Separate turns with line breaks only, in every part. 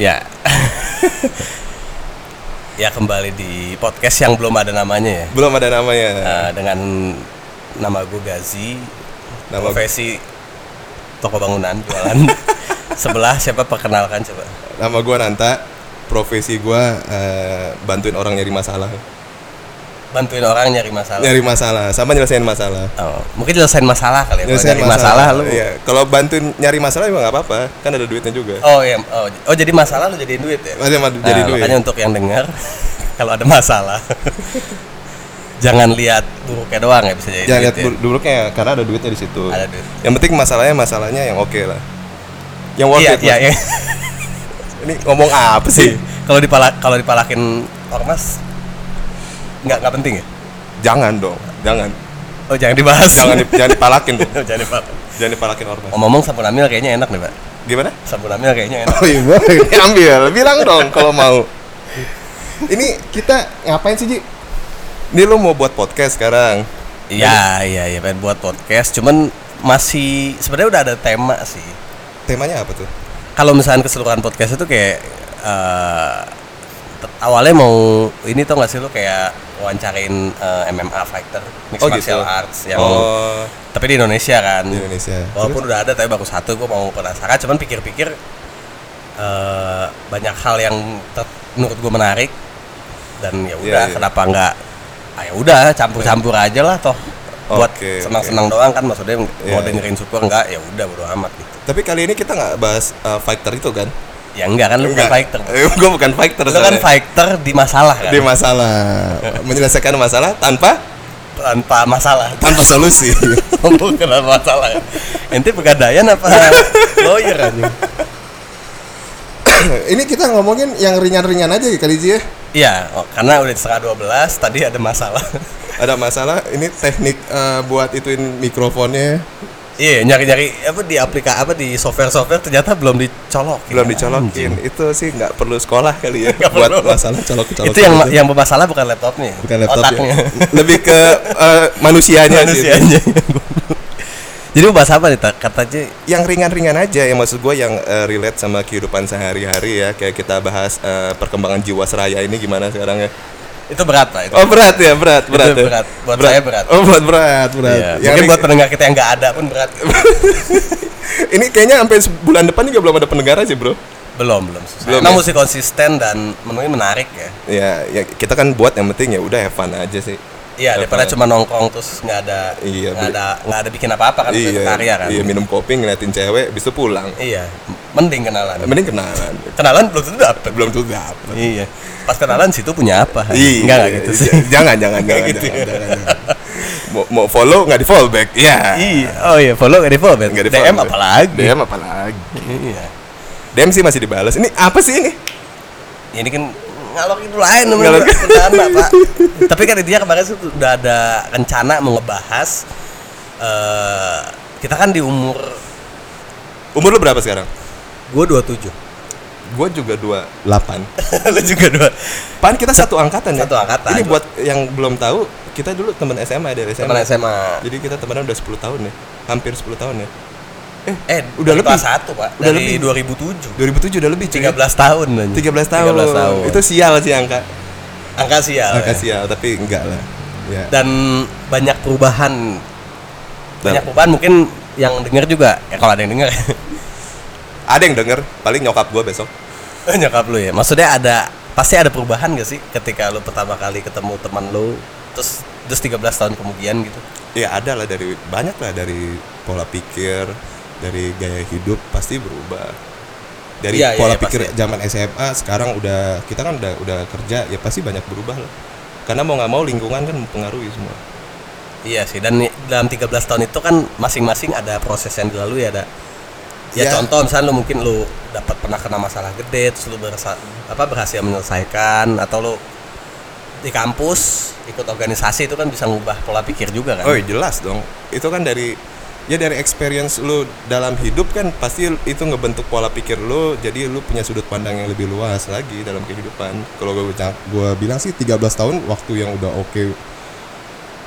Ya. ya kembali di podcast yang belum ada namanya ya.
Belum ada namanya.
Eh, dengan nama gue Gazi,
Nama gu-
profesi toko bangunan jualan. Sebelah siapa perkenalkan coba?
Nama gua Nanta, profesi gua eh, bantuin orang nyari masalah.
Bantuin orang nyari masalah.
Nyari masalah, sama nyelesain masalah.
Oh, mungkin nyelesain masalah kali ya. Kalau
Nyelesain
nyari masalah, lu.
Iya, kalau bantuin nyari masalah juga nggak apa-apa, kan ada duitnya juga.
Oh iya, oh, j- oh, jadi masalah lu jadiin duit ya.
Masih madu jadi
Nah,
duit.
Makanya untuk yang dengar kalau ada masalah jangan lihat buruknya doang ya bisa jadi.
Jangan
duit
lihat
ya.
bur- buruknya karena ada duitnya di situ.
Ada duit.
Yang penting masalahnya masalahnya yang oke lah. Yang worth
Iya,
it.
iya,
Mas.
iya.
Ini ngomong apa sih?
Kalau dipala kalau dipalakin ormas nggak nggak penting ya.
jangan dong, jangan.
Oh jangan dibahas.
Jangan di- jangan dipalakin dong.
jangan dibahas.
Jangan dipalakin ormas.
Ngomong-ngomong sabun amil kayaknya enak nih pak.
Gimana?
Sabun amil kayaknya enak.
Oh iya, boleh. ambil. Bilang dong kalau mau. Ini kita ngapain sih, Ji? Ini lu mau buat podcast sekarang.
Iya iya iya pengen buat podcast. Cuman masih sebenarnya udah ada tema sih.
Temanya apa tuh?
Kalau misalnya keseluruhan podcast itu kayak eh, t- awalnya mau ini tau gak sih lu kayak wawancarain eh, MMA fighter mixed martial arts yang
gitu. Oh,
tapi gitu. di Indonesia kan.
di Indonesia.
Walaupun udah ada tapi baru satu gue mau penasaran cuman pikir-pikir eh, banyak hal yang ter- menurut gue menarik dan ya udah
iya.
kenapa nggak ah, ya udah campur-campur aja lah toh buat
Oke,
senang-senang doang kan maksudnya mau
Iya,
dengerin syukur nggak ya udah bodo amat gitu
Tapi kali ini kita nggak bahas uh, fighter itu kan?
ya enggak kan lu bukan fighter
Gue bukan fighter.
lu kan
soalnya.
fighter di masalah kan
Iya, Di masalah, menyelesaikan masalah tanpa
tanpa masalah
tanpa solusi.
bukan masalah kan? ente pegadaian apa lawyer aja
ini kita ngomongin yang ringan-ringan aja kali Ji ya.
Iya, oh, karena udah setengah 12, tadi ada masalah.
Ada masalah, ini teknik uh, buat ituin mikrofonnya
Iya, nyari-nyari apa di aplikasi apa di software-software ternyata belum dicolok.
belum iya. dicolokin itu sih nggak perlu sekolah kali
Iya.
ya
Nggak
buat
perlu.
masalah colok colok
Itu yang yang bermasalah bukan laptopnya,
gitu. bukan laptop
otaknya.
ya. lebih ke eh, manusianya sih
Manusianya. Jadi mau bahas apa nih? Ta? Katanya
yang ringan-ringan aja ya maksud gue yang eh, relate sama kehidupan sehari-hari ya kayak kita bahas eh, perkembangan jiwa seraya ini gimana sekarang ya
itu berat lah itu.
oh berat ya berat berat ya.
berat. Buat saya berat.
oh buat berat
Iya,
berat Yang
Mungkin
ring-
buat pendengar kita yang nggak ada pun berat.
ini kayaknya sampai bulan depan juga belum ada pendengar aja bro
belum, belum susah.
Belum,
Emang
ya?
mesti konsisten dan menunya menarik ya.
ya, ya kita kan buat yang penting ya udah have fun aja sih
Iya, daripada cuma nongkrong terus nggak ada
Iya,
nggak
beli-
ada nggak ada bikin apa-apa kan itu
iya,
karya kan.
iya minum kopi ngeliatin cewek bisa pulang
Iya, mending kenalan.
mending kenalan
Kenalan belum tentu dapet.
belum tuh dapet
Iya. Pas kenalan situ punya apa?
Iya,
Enggak enggak gitu sih.
j- Jangan, jangan, jangan,
gitu
jangan, jangan, jangan. Mau, mau follow nggak di follow back? Iya.
Iya. Oh iya, follow nggak di follow Ben?
Nggak di
DM
follow.
apa lagi?
DM apa lagi?
Iya.
DM sih masih dibalas. Ini apa sih ini?
Ya, Ini kan ngalor itu lain namanya
Ngalor-
rencana, Pak. Tapi kan intinya kemarin tuh udah ada rencana mau ngebahas eh kita kan di umur
Umur lu berapa sekarang?
gue 27.
Gue juga 28
Lu juga dua.
Pan kita satu angkatan ya?
Satu angkatan.
Ini buat yang belum tahu, kita dulu teman SMA dari SMA.
Teman SMA.
Jadi kita temenan udah 10 tahun ya. Hampir 10 tahun ya.
Eh,
Udah
dari
lebih.
kelas 1, Pak.
Udah
Dari
lebih.
2007.
2007 udah lebih cuy.
13 tahun. anjing.
13 tahun.
13 Iya. tahun. Iya.
Itu sial sih angka.
angka sial.
Angka
ya.
sial, tapi enggak lah. Ya.
dan banyak perubahan
Dan-
banyak perubahan mungkin yang denger juga ya kalau ada yang denger
Ada yang denger, paling nyokap gue besok.
nyokap lu ya maksudnya ada pasti ada perubahan gak sih ketika lu pertama kali ketemu teman lu terus terus 13 tahun kemudian gitu
ya ada lah dari banyak lah dari pola pikir dari gaya hidup pasti berubah dari
Iya, iya,
pola
iya,
pikir
pasti.
zaman SMA sekarang udah kita kan udah udah kerja ya pasti banyak berubah lah karena mau nggak mau lingkungan kan mempengaruhi semua
iya sih dan dalam 13 tahun itu kan masing-masing ada proses yang dilalui ada ya
Ya.
contoh misalnya lu mungkin lu dapat pernah kena masalah gede terus lu berasa, apa berhasil menyelesaikan atau lu di kampus ikut organisasi itu kan bisa ngubah pola pikir juga kan
oh iya, jelas dong itu kan dari ya dari experience lu dalam hidup kan pasti itu ngebentuk pola pikir lu jadi lu punya sudut pandang yang lebih luas lagi dalam kehidupan kalau gue gua bilang sih 13 tahun waktu yang udah oke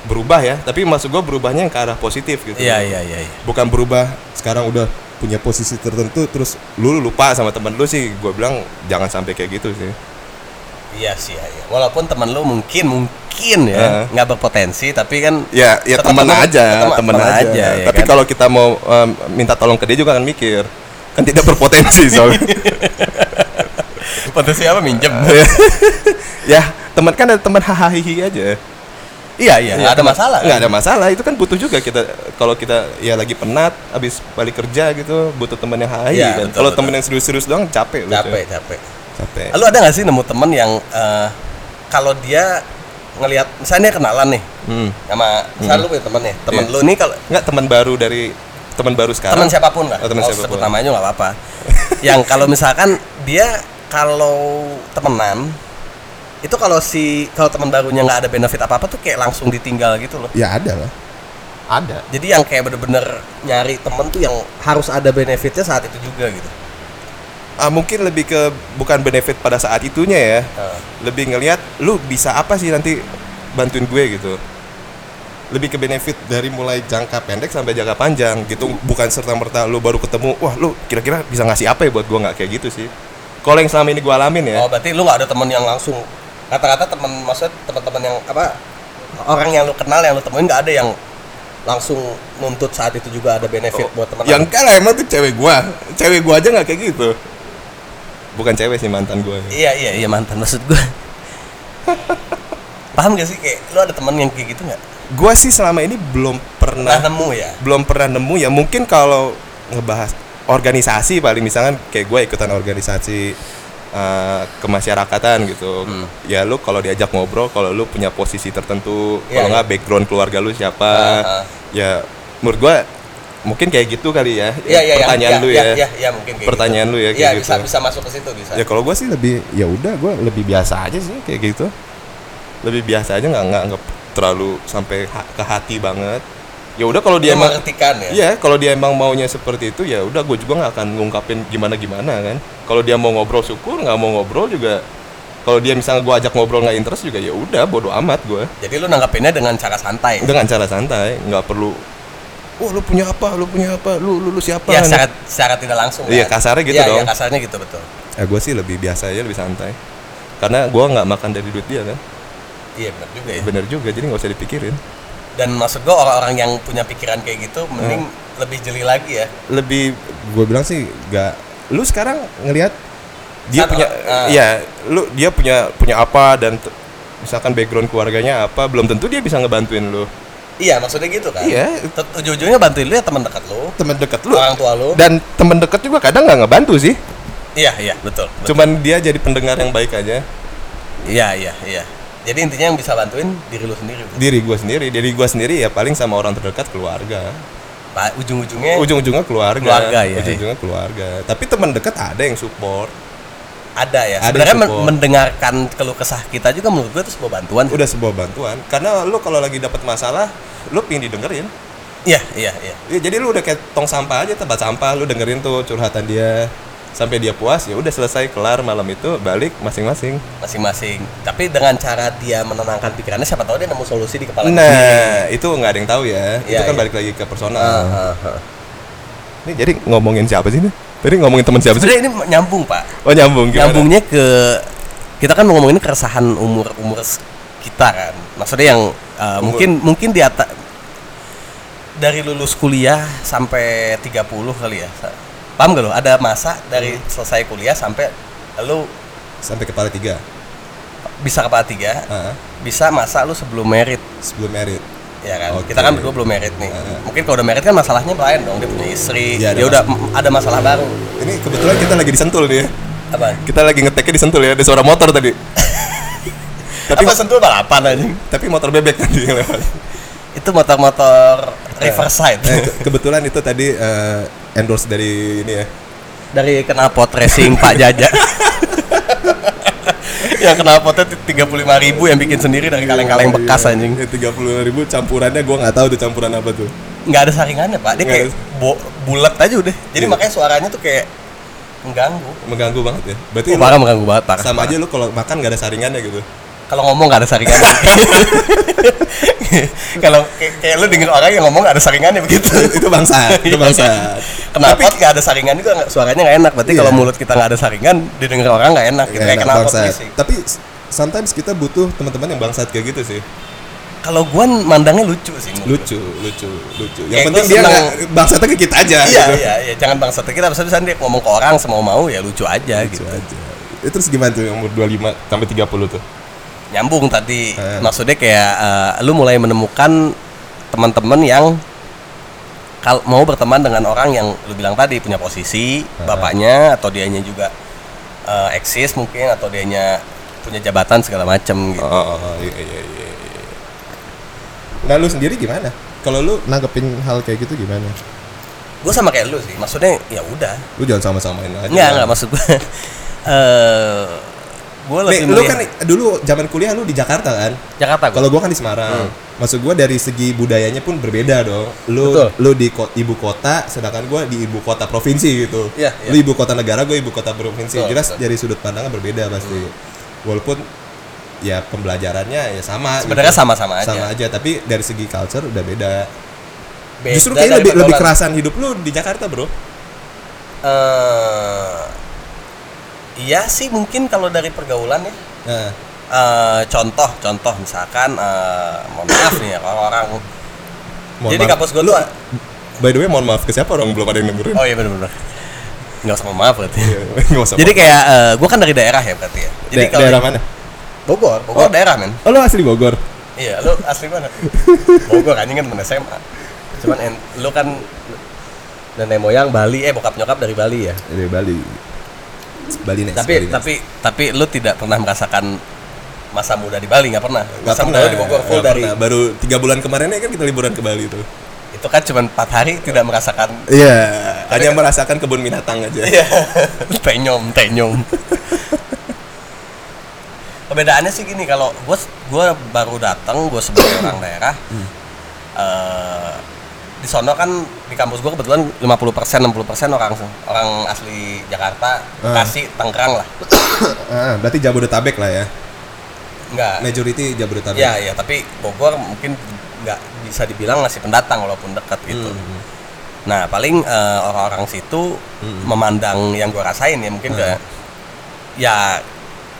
berubah ya tapi maksud gue berubahnya yang ke arah positif gitu
iya iya iya iya.
bukan berubah sekarang udah punya posisi tertentu terus lu lupa sama temen lu sih gue bilang jangan sampai kayak gitu sih
Iya sih, ya, ya. walaupun teman lu mungkin mungkin ya
Heeh.
nggak berpotensi, tapi kan
ya ya
Tetap
temen
temen-
aja
tetap
temen
temen
aja,
aja, ya
tapi
kan?
kalau kita mau em, minta tolong ke dia juga kan mikir kan tidak berpotensi soalnya
potensi apa minjem?
ya teman kan ada teman hahaha aja
iya iya, nggak ada masalah.
nggak ada masalah itu kan butuh juga kita kalau kita ya lagi penat habis balik kerja gitu butuh temen yang hai
Iya,
kan
betul,
kalau
betul.
temen yang serius-serius doang capek lu,
Capek
cuy.
capek.
capek
Lu ada nggak sih nemu temen yang eh, kalau dia ngelihat misalnya dia kenalan nih
hmm.
sama misalnya lu punya temen nih, temen
Iya.
lu nih kalau
nggak teman baru dari teman baru
teman
sekarang
siapapun lah,
Oh, teman
mau
siapapun.
sebut namanya nggak apa-apa. yang kalau misalkan dia kalau temenan itu kalau si kalau teman barunya nggak ada benefit apa apa tuh kayak langsung ditinggal gitu loh.
ya ada lah ada
Jadi yang kayak bener-bener nyari temen tuh yang harus ada benefitnya saat itu juga gitu.
ah, mungkin lebih ke bukan benefit pada saat itunya ya
Heeh.
lebih ngelihat lu bisa apa sih nanti bantuin gue gitu lebih ke benefit dari mulai jangka pendek sampai jangka panjang gitu bukan serta merta lu baru ketemu wah lu kira-kira bisa ngasih apa ya buat gua nggak kayak gitu sih kalau yang selama ini gua alamin ya
Oh berarti lu nggak ada temen yang langsung kata-kata temen maksudnya teman-teman yang apa orang yang lu kenal yang lu temuin nggak ada yang langsung nuntut saat itu juga ada benefit buat teman.
Oh. yang ya enggak lah emang tuh cewek gua cewek gua aja nggak kayak gitu bukan cewek sih mantan gua
Iya iya iya mantan maksud gue. Paham gak sih kayak lu ada temen yang kayak gitu nggak?
gua sih selama ini belum
Nah
pernah
nemu ya.
belum pernah nemu ya mungkin kalau ngebahas organisasi paling misalkan kayak gue ikutan organisasi eh, kemasyarakatan gitu
Hmm.
ya lu kalau diajak ngobrol kalau lu punya posisi tertentu
Iya,
kalau
iya.
nggak background keluarga lu siapa
Ah, ah.
ya menurut gue mungkin kayak gitu kali ya
Iya iya iya.
pertanyaan
iya,
lu
iya,
ya
Iya iya mungkin kayak
Pertanyaan
gitu.
lu ya, kayak
Iya
gitu.
bisa bisa masuk ke situ bisa.
ya kalau gue sih lebih ya udah gue lebih biasa aja sih kayak gitu lebih biasa aja nggak nggak nggak terlalu sampai ha- ke hati banget ya udah kalau
dia
dia emang
mengertikan ya.
Iya, kalau dia emang maunya seperti itu ya udah gue juga nggak akan ngungkapin gimana gimana kan. Kalau dia mau ngobrol syukur, nggak mau ngobrol juga. Kalau dia misalnya gue ajak ngobrol nggak interest juga ya udah bodo amat gue.
Jadi lu nanggapinnya dengan cara santai. ya?
Dengan cara santai, nggak perlu. Wah lu punya apa? Lu punya apa? Lu lu, lu siapa?
Iya secara, secara tidak langsung.
Iya, kasarnya gitu
Iya,
dong.
Iya kasarnya gitu betul.
gue Nah, eh, sih lebih biasa aja, lebih santai. Karena gue nggak makan dari duit dia kan.
Iya benar juga ya.
Bener juga, jadi nggak usah dipikirin.
Dan maksud gua orang-orang yang punya pikiran kayak gitu mending
Iya.
lebih jeli lagi ya.
Lebih gue bilang sih nggak. Lu sekarang ngelihat dia
Saat
punya
orang- ah.
iya lu dia punya punya apa dan t- misalkan background keluarganya apa belum tentu dia bisa ngebantuin lu
Iya maksudnya gitu kan.
Iya.
Tet- Ujung-ujungnya bantuin lu ya teman dekat lu,
teman dekat lu
orang tua lu.
dan teman dekat juga kadang nggak ngebantu sih
Iya iya betul. betul.
cuman dia jadi pendengar yang baik aja
Iya iya iya. Jadi intinya yang bisa bantuin diri lu sendiri. Bro.
diri gua sendiri diri gua sendiri ya paling sama orang terdekat keluarga
Pa- Ujung-ujungnya
ujung-ujungnya keluarga,
Keluarga, ya.
ujung-ujungnya keluarga tapi teman dekat ada yang support
ada ya.
Ada
Sebenarnya men-
support.
mendengarkan keluh kesah kita juga menurut gua itu sebuah bantuan. sih.
udah sebuah bantuan karena lu kalau lagi dapat masalah lu pingin didengerin
Iya iya iya.
Ya, jadi lu udah kayak tong sampah aja tempat sampah lu dengerin tuh curhatan dia sampai dia puas ya udah selesai kelar malam itu balik masing-masing.
Masing-masing. Tapi dengan cara dia menenangkan pikirannya, siapa tahu dia nemu solusi di kepala dia.
Nah, itu nggak ada yang tahu ya. itu
Iya,
kan
iya.
balik lagi ke personal.
Ah, ah, ah.
Ini jadi ngomongin siapa sih ini? Tadi ngomongin teman siapa sih?
Sebenarnya ini nyambung pak.
Oh, nyambung gimana?
Nyambungnya ke kita kan ngomongin keresahan umur umur s- kita kan. Maksudnya yang uh,
Umur.
mungkin mungkin di atas dari lulus kuliah sampai 30 kali ya. Sa- Paham gak lo? Ada masa dari
Hmm.
selesai kuliah sampai lu
Sampai kepala tiga.
bisa kepala tiga,
Ah,
bisa masa lu sebelum merit
sebelum merit.
ya kan
Oke.
kita kan berdua belum merit nih
Heeh.
mungkin kalau udah merit kan masalahnya lain dong dia punya istri
Iya, ada
dia udah ada masalah baru
Ini kebetulan kita lagi disentul nih. ya.
apa
Kita lagi ngeteknya disentul ya, ada suara motor tadi. tapi
apa sentuh balapan aja
tapi motor bebek tadi yang lewat.
itu motor-motor riverside
Eh, ke- kebetulan itu tadi eh, endorse dari ini ya.
dari knalpot racing Pak Jaja yang knalpotnya tiga puluh ribu yang bikin sendiri dari kaleng-kaleng bekas anjing
Iya. tiga puluh ribu campurannya gue nggak tahu tuh campuran apa tuh
nggak ada saringannya pak dia
Nggak
kayak bo- bulat aja udah jadi
Iya.
makanya suaranya tuh kayak mengganggu
mengganggu banget ya berarti
Oh,
lu
parah mengganggu banget parah
sama aja lu kalau makan nggak ada saringannya gitu
kalau ngomong gak ada saringannya kalau kayak, kayak lu denger orang yang ngomong gak ada saringannya begitu
itu bangsa, itu bangsa.
kenapa Iya. nggak ada saringan juga nggak- suaranya nggak enak berarti
Iya.
kalau mulut kita nggak ada saringan didengar orang nggak enak gitu
Nggak
kayak
enak,
kenapa
Iya, bangsat.
sih
Tapi s- sometimes kita butuh teman-teman yang bangsat kayak gitu sih.
kalau gua mandangnya lucu sih menurut
Lucu, lucu, lucu.
Kayak
Yang penting
gua
dia
seneng-
nggak bangsatnya ke kita aja.
gua. iya
gitu.
iya iya jangan bangsa kita bisa bisa dia ngomong ke orang semau mau ya lucu aja
Lucu
gitu
aja. Eh, terus gimana tuh yang umur 25 sampai 30 tuh?
nyambung tadi
Eh.
maksudnya kayak eh, lu mulai menemukan teman-teman yang kalau mau berteman dengan orang yang lu bilang tadi punya posisi
Eh.
bapaknya atau dianya juga eh, eksis mungkin atau dianya punya jabatan segala macem gitu
Oh, oh, oh, iya, iya, iya. iya. Nah, lu sendiri gimana? Kalau lu nanggepin hal kayak gitu gimana?
gue sama kayak lu sih maksudnya ya udah
Lu jangan sama-samain aja.
nggak nggak maksud gue eh gue lebih
Nih, lu
melihat-
kan dulu zaman kuliah lu di Jakarta kan?
Jakarta gue
Kalau gua kan di
Hmm.
Semarang. Maksud gua dari segi budayanya pun berbeda dong. Lu
Betul.
lu di ko- ibu kota sedangkan gua di ibu kota provinsi gitu.
Iya, iya.
Lu ibu kota negara, gua ibu kota provinsi.
Betul,
Jelas
betul. Hmm.
dari sudut pandangnya berbeda pasti. Walaupun ya pembelajarannya ya sama.
sebenarnya
gitu.
sama-sama aja
Sama aja, tapi dari segi culture udah beda.
Beda
Justru kayaknya lebih
daripada
lebih
orang-
kerasan hidup lu di Jakarta, Bro.
eh iya sih mungkin kalau dari pergaulan ya.
Nah,
Eh, contoh, contoh misalkan eh mohon maaf nih ya orang-orang.
mohon
Jadi
maaf.
kampus gue
Lu-
tuh
by the way mohon maaf ke siapa orang belum ada yang dengerin.
Oh iya benar-benar. Enggak usah mohon maaf berarti.
Iya, nggak usah.
Jadi kayak eh gue kan dari daerah ya berarti ya. Jadi
Da- daerah mana?
Bogor, Bogor
Oh.
daerah men.
Oh, lu asli Bogor.
Iya, lu asli mana? Bogor anjing kan temen SMA. Cuman en, lu kan nenek moyang Bali, eh bokap nyokap dari Bali ya.
Dari Iya, Bali. Bali next.
tapi
Bali next.
tapi tapi lu tidak pernah merasakan masa muda di Bali nggak pernah.
Gak
masa
pernah
muda lu di Bogor full
nggak
dari
pernah. baru tiga bulan kemarin ya kan kita liburan ke Bali tuh.
itu kan cuma empat hari tidak merasakan
Iya. Hanya merasakan kebun binatang
Iya.
aja.
tenyom tenyom perbedaannya sih gini kalau gue gua baru datang gue sebagai orang daerah
Hmm.
eh, di sono kan di kampus gue kebetulan 50% 60% orang orang asli Jakarta
Ah.
Bekasi Tangerang lah
Ah, berarti Jabodetabek lah ya. Ah.
enggak
Majority Jabodetabek.
Ya, ya, tapi Bogor mungkin nggak bisa dibilang masih pendatang walaupun dekat gitu.
Hmm.
Nah, paling eh, orang-orang situ memandang yang gua rasain ya mungkin nggak- ya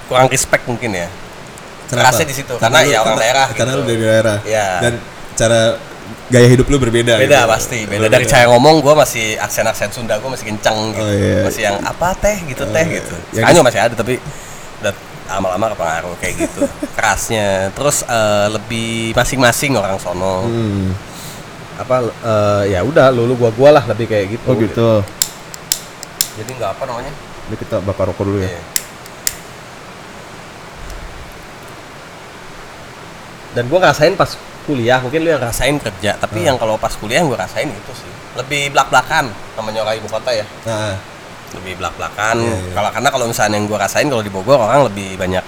kurang respect mungkin ya. Kerasnya di situ, karena
lu-
ya orang daerah
Karena
gitu.
lu dari daerah.
Iya.
Dan cara gaya hidup lu berbeda.
Beda
gitu.
pasti, Ya, beda dari saya ngomong gua masih aksen-aksen Sunda gua masih kenceng gitu.
Oh, iya.
Masih yang apa teh gitu
Oh,
teh
iya.
gitu.
Yang-
Sekarang juga masih ada tapi udah lama-lama kepengaruh kayak gitu. Kerasnya. Terus eh, lebih masing-masing orang sono.
Hmm.
apa eh, ya udah lu lu gua gua lah lebih kayak
Oh,
gitu jadi nggak apa namanya
Ini kita bakar rokok dulu ya.
Iya. dan gua ngerasain pas kuliah mungkin lu yang rasain kerja tapi
Hmm.
yang kalau pas kuliah yang gua rasain itu sih lebih belak belakan namanya orang ibu kota ya
Nah,
lebih belak belakan
Iya, iya.
kalau karena kalau misalnya yang gua rasain kalau di Bogor orang lebih banyak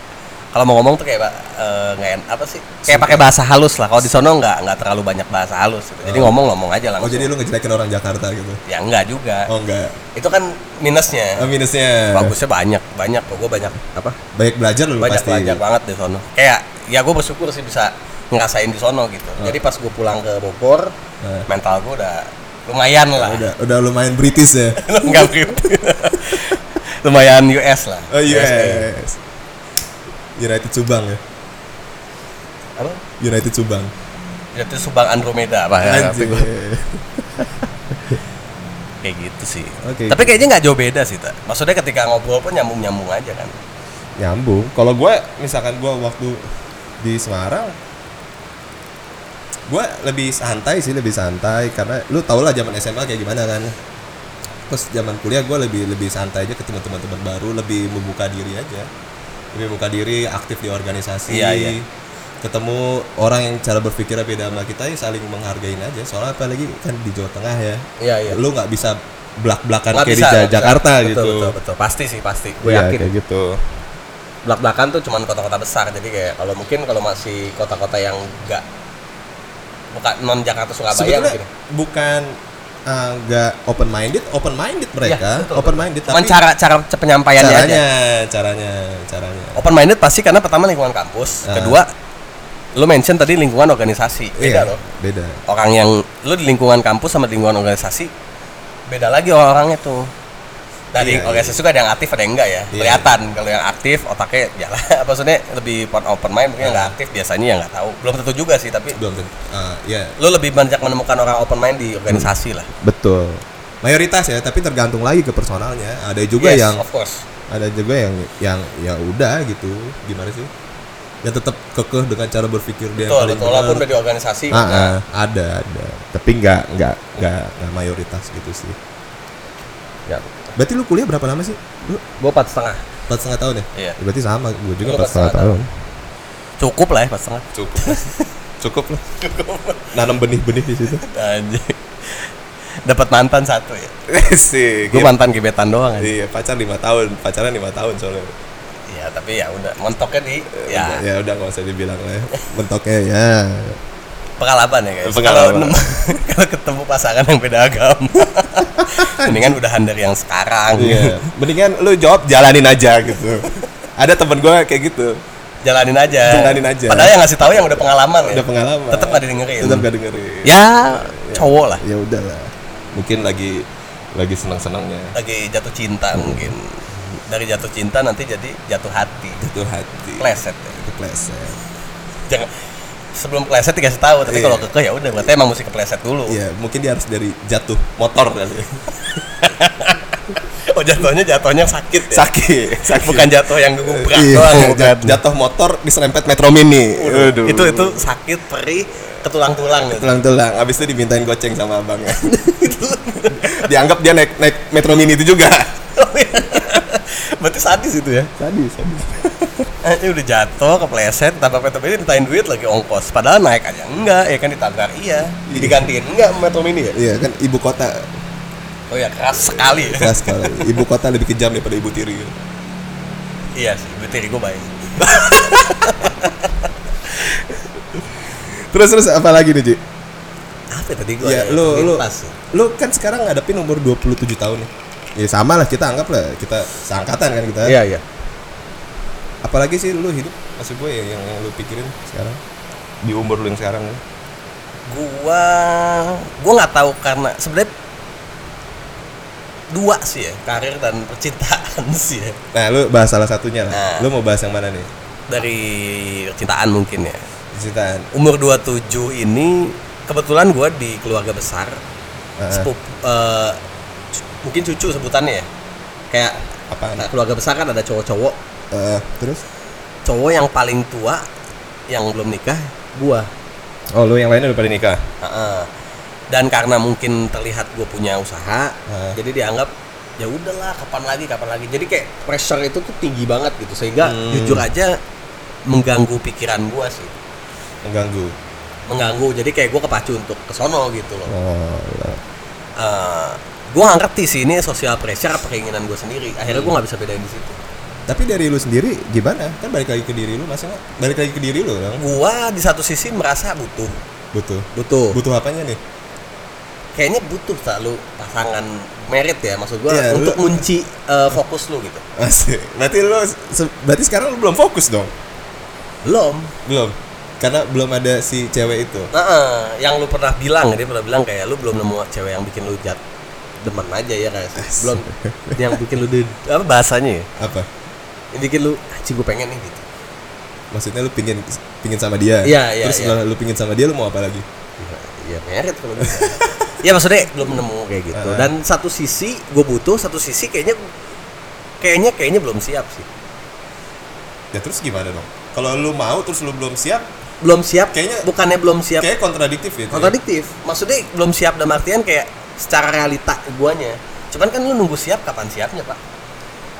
kalau mau ngomong tuh kayak ba- eh, nggak en- apa sih kayak pakai bahasa halus lah kalau di sono nggak nggak terlalu banyak bahasa halus gitu. jadi
Oh.
ngomong ngomong aja
oh
langsung
jadi lu ngejelekin orang Jakarta gitu.
ya enggak juga
Oh enggak.
itu kan minusnya
Ah, minusnya
bagusnya banyak banyak kok gue banyak apa
banyak belajar lu
banyak
Hmm, pasti.
belajar banget di sono kayak ya gue bersyukur sih bisa ngerasain di sono gitu
Hmm.
jadi pas gue pulang ke Bogor
Ah.
mental gue udah lumayan lah
Ya Udah udah lumayan British ya.
nggak gitu lumayan US lah
Oh
US.
yes. United Subang ya.
apa Ya,
United Subang.
itu subang Andromeda apa ya,
Anjing.
kayak gitu sih
Oke.
tapi kayaknya nggak jauh beda sih tak maksudnya ketika ngobrol pun nyambung nyambung aja kan
Nyambung. Kalau gue misalkan gue waktu di Semarang gue lebih santai sih lebih santai karena lu tau lah zaman SMA kayak gimana kan terus zaman kuliah gue lebih lebih santai aja ketemu teman-teman baru lebih membuka diri aja lebih membuka diri aktif di organisasi
Iya, iya.
ketemu orang yang cara berpikirnya beda sama kita ya saling menghargain aja soalnya apalagi kan di Jawa Tengah ya
iya iya
lu nggak bisa
Nggak
blak-blakan Kan kayak
bisa, nggak
di Ja-
bisa.
Jakarta
Betul,
gitu
betul, betul. pasti sih pasti gue
Iya,
yakin
kayak gitu
belak-belakan tuh cuman kota-kota besar jadi kayak kalau mungkin kalau masih kota-kota yang enggak bukan non Jakarta Surabaya
sebetulnya
mungkin
bukan eh, nggak open minded, open
Iya,
minded mereka,
betul,
open minded
Cuman
tapi
cara cara ce- penyampaiannya aja.
caranya, caranya, caranya.
Open minded pasti karena pertama lingkungan kampus,
Ah.
kedua lu mention tadi lingkungan organisasi. Beda
Iya,
loh.
beda.
Orang yang lu di lingkungan kampus sama di lingkungan organisasi beda lagi orang-orangnya tuh. Dari
Iya,
organisasi juga ada yang aktif ada yang enggak ya.
Iya.
Kelihatan kalau yang aktif otaknya jalan apa maksudnya lebih open mind
Ah.
mungkin yang nggak aktif biasanya ya nggak tahu. Belum tentu juga sih tapi
Belum tentu. Ah, ya,
lu lebih banyak menemukan orang open mind di organisasi lah.
betul. Mayoritas ya, tapi tergantung lagi ke personalnya. Ada juga
Yes,
yang
of course.
ada juga yang yang ya udah gitu. Gimana sih? Ya tetap kekeh dengan cara berpikir dia yang
Betul,
paling
betul. Walaupun
benar.
udah di organisasi
Ah, ah, ada ada tapi nggak nggak nggak nggak mayoritas gitu sih
ya.
berarti lu kuliah berapa lama sih lu
Gua empat setengah.
empat setengah tahun ya
Iya.
berarti sama gue juga
Lu
empat
empat
setengah
setengah
tahun
Cukup lah ya empat setengah.
cukup cukup lah nanam benih-benih di situ
Anjing. Dapat mantan satu ya.
sih
Gue mantan gebetan doang aja.
iya pacar lima tahun pacaran lima tahun soalnya
Iya, tapi ya udah mentoknya di ya
ya udah nggak usah dibilang lah ya mentoknya ya
pengalaman ya guys. Kalau
Pengalaman.
nem- Kalau ketemu pasangan yang beda agama. Mendingan udahan dari yang sekarang.
iya mendingan lu jawab jalanin aja gitu ada temen gue kayak gitu
Jalanin aja.
Jalanin aja.
Padahal yang ngasih tahu yang udah pengalaman ya.
udah pengalaman
Tetap nggak didengerin.
tetap nggak dengerin
Ya, cowok lah.
ya udahlah mungkin lagi lagi senang senangnya
Lagi jatuh cinta mungkin. Dari jatuh cinta nanti jadi jatuh hati.
itu hati
Pleset ya.
itu pleset
jangan sebelum kepleset dikasih tahu tapi
Iya.
kalau kekeh ya udah berarti emang mesti kepleset dulu
ya mungkin dia harus dari jatuh motor kali ya.
oh jatuhnya jatuhnya sakit ya
sakit sakit
bukan jatuh yang gubrak
Iya,
doang
jat-
bukan.
jatuh motor diserempet metro mini Aduh.
itu itu sakit perih ke tulang-tulang gitu.
tulang-tulang abis itu dimintain goceng sama abangnya dianggap dia naik naik metro mini itu juga
berarti sadis itu ya
tadi sadis
Eh, ini udah jatuh kepleset tanpa metro mini ditain duit lagi ongkos padahal naik aja enggak ya kan ditabrak iya
Iya.
digantiin enggak sama metro mini ya
iya kan ibu kota
oh ya keras sekali ya.
keras sekali ibu kota lebih kejam daripada ibu tiri
iya sih betiri gue baik
terus terus apa lagi nih Ji?
apa tadi gue
Ya, lu lu lu kan sekarang ngadepin umur 27 tahun nih. Ya sama lah kita anggap lah kita seangkatan kan kita.
iya iya
Apalagi sih lu hidup maksud gue ya yang, yang lu pikirin sekarang di umur lu yang sekarang nih.
gua gua nggak tahu karena sebenarnya dua sih ya karir dan percintaan sih ya.
Nah, lu bahas salah satunya lah.
Nah.
Lu mau bahas yang mana nih?
dari percintaan mungkin ya
Cintaan.
umur 27 ini kebetulan gua di keluarga besar
Heeh.
sepup- eh, cu- mungkin cucu sebutannya ya kayak
Apaan?
nah, keluarga besar kan ada cowok-cowok
Heeh, terus?
cowok yang paling tua yang belum nikah gua
Oh, lu yang lainnya udah pada nikah.
Heeh. Dan karena mungkin terlihat gue punya usaha,
Heeh.
jadi dianggap ya udahlah kapan lagi kapan lagi. Jadi kayak pressure itu tuh tinggi banget gitu sehingga
Hmm.
jujur aja mengganggu pikiran gue sih,
Mengganggu.
mengganggu. Jadi kayak gue kepacu untuk kesono gitu loh.
Oh. lah.
Eh, gue gak ngerti sih ini social pressure apa keinginan gue sendiri. Akhirnya
Hmm.
gue nggak bisa bedain di situ.
Tapi dari lu sendiri gimana? Kan balik lagi ke diri lu, masa nggak? Balik lagi ke diri lu dong.
Gue di satu sisi merasa butuh,
Butuh.
butuh.
Butuh apanya nih?
Kayaknya butuh selalu pasangan merit ya maksud gue
Iya, lu-
untuk kunci fokus lu gitu.
Asik. Berarti lu se- berarti sekarang lu belum fokus dong.
Belum.
Belum. Karena belum ada si cewek itu.
Heeh, yang lu pernah bilang dia pernah bilang kayak lu belum nemu cewek yang bikin lu jat demen aja ya kayak belum yang bikin lu di, apa bahasanya ya
Apa?
yang bikin lu anjing gue pengen nih gitu
Maksudnya lu pingin pingin sama dia.
Iya, iya,
Terus
iya.
setelah lu pingin sama dia lu mau apa lagi?
ya merit kalau bisa ya maksudnya belum nemu kayak gitu
Heeh.
dan satu sisi gue butuh satu sisi kayaknya kayaknya kayaknya belum siap sih
Ya terus gimana dong? Kalau lu mau terus lu belum siap,
belum siap
Kayaknya-
bukannya belum siap
kayak kontradiktif ya.
kontradiktif maksudnya belum siap dalam artian kayak secara realita guanya cuman kan lu nunggu siap kapan siapnya pak Iya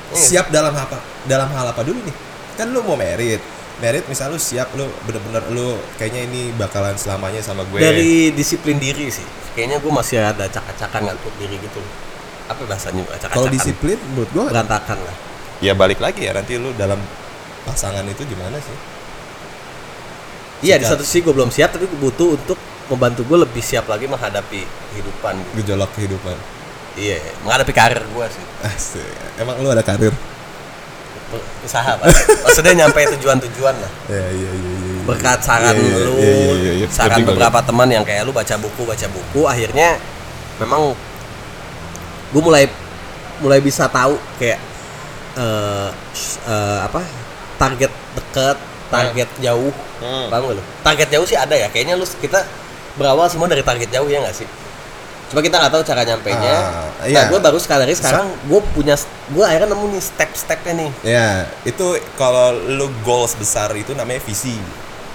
nggak sih?
Siap dalam apa? Dalam hal apa dulu nih? Kan lu mau merit. Merit misal lu siap lu bener-bener lu kayaknya ini bakalan selamanya sama gue.
dari disiplin diri sih kayaknya gue masih ada cak-cakan ngatur diri gitu apa bahasanya cak-cakan
kalau disiplin menurut gua
berantakan lah
ya balik lagi ya nanti lu dalam pasangan itu gimana sih?
iya di Iya,
Sikap.
satu sisi gue belum siap tapi gue butuh untuk membantu gue lebih siap lagi menghadapi kehidupan gitu.
gejolak kehidupan
Iya, menghadapi karir gue sih.
Asik. emang lu ada karir
Per- Usaha, Pak. Maksudnya nyampe tujuan-tujuan lah.
ya iya iya iya iya.
Berkat saran
Iya, iya,
lu,
iya, iya, iya, iya.
saran
Penting
beberapa teman yang kayak lu baca buku, baca buku, akhirnya memang gue mulai mulai bisa tahu kayak eh s- eh, apa target dekat, target jauh.
Hmm.
Paham gak lu? Target jauh sih ada ya. Kayaknya lu kita berawal semua dari target jauh ya nggak sih? Cuma kita nggak tahu cara nyampainya.
Ah,
nah,
iya.
gue baru sekali lagi sekarang gue punya gue akhirnya nemu nih step-stepnya nih.
Ya, itu kalau lu goals besar itu namanya visi.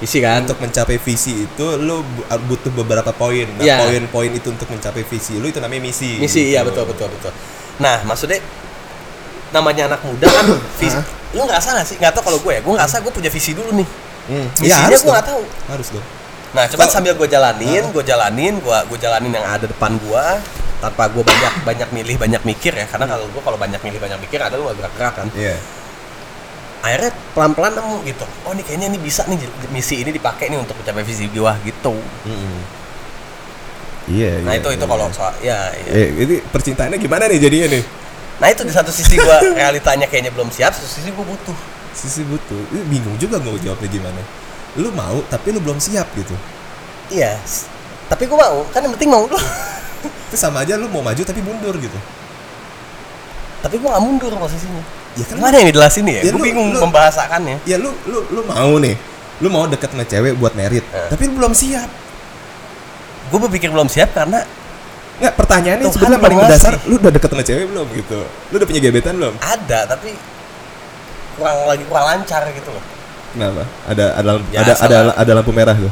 Isi kan?
Untuk mencapai visi itu lu bu- butuh beberapa poin. Nah,
Iya.
poin-poin itu untuk mencapai visi lu itu namanya misi.
Misi, iya
Gitu.
betul betul betul. Nah, maksudnya namanya anak muda kan visi.
Hah?
Lu ngerasa nggak sih? Nggak tau kalau gue ya. Gue ngerasa gue punya visi dulu nih.
Hmm. Iya,
Misinya
harus
gue
dong.
nggak tahu.
Harus dong.
Nah, cuman
Kalau-
sambil gue jalanin, gue jalanin, gue gue jalanin yang ada depan gue tanpa gue banyak banyak milih banyak mikir ya karena kalau gue kalau banyak milih banyak mikir ada lu gak gerak-gerak kan
Iya.
akhirnya pelan-pelan nemu gitu oh ini kayaknya ini bisa nih j- misi ini dipakai nih untuk mencapai visi gua gitu
Mm-mm. Iya,
nah
iya,
itu itu
iya.
kalau soal ya, ya.
Eh, ini percintaannya gimana nih jadinya nih?
nah itu di satu sisi gua realitanya kayaknya belum siap satu sisi gua butuh
Sisi butuh. Ih, bingung juga gue jawabnya gimana. Lu mau tapi lu belum siap gitu.
iya s- tapi gua mau kan yang penting mau dulu
Itu sama aja lu mau maju tapi mundur gitu.
tapi gua nggak mundur posisinya
Ya kan
gimana yang dijelasin ya,
Ya,
gua
lu-
bingung
lu-
membahasakannya
ya lu lu lu mau nih lu mau deket sama cewek buat merit
Eh.
tapi lu belum siap
gua berpikir belum siap karena
nggak pertanyaannya
Tuhan
sebenarnya paling
belum
mendasar
ngasih.
lu udah deket sama cewek belum gitu lu udah punya gebetan belum
ada tapi kurang lagi kurang lancar gitu loh
kenapa ada ada lampu,
Ya,
ada, ada
salah.
ada lampu merah tuh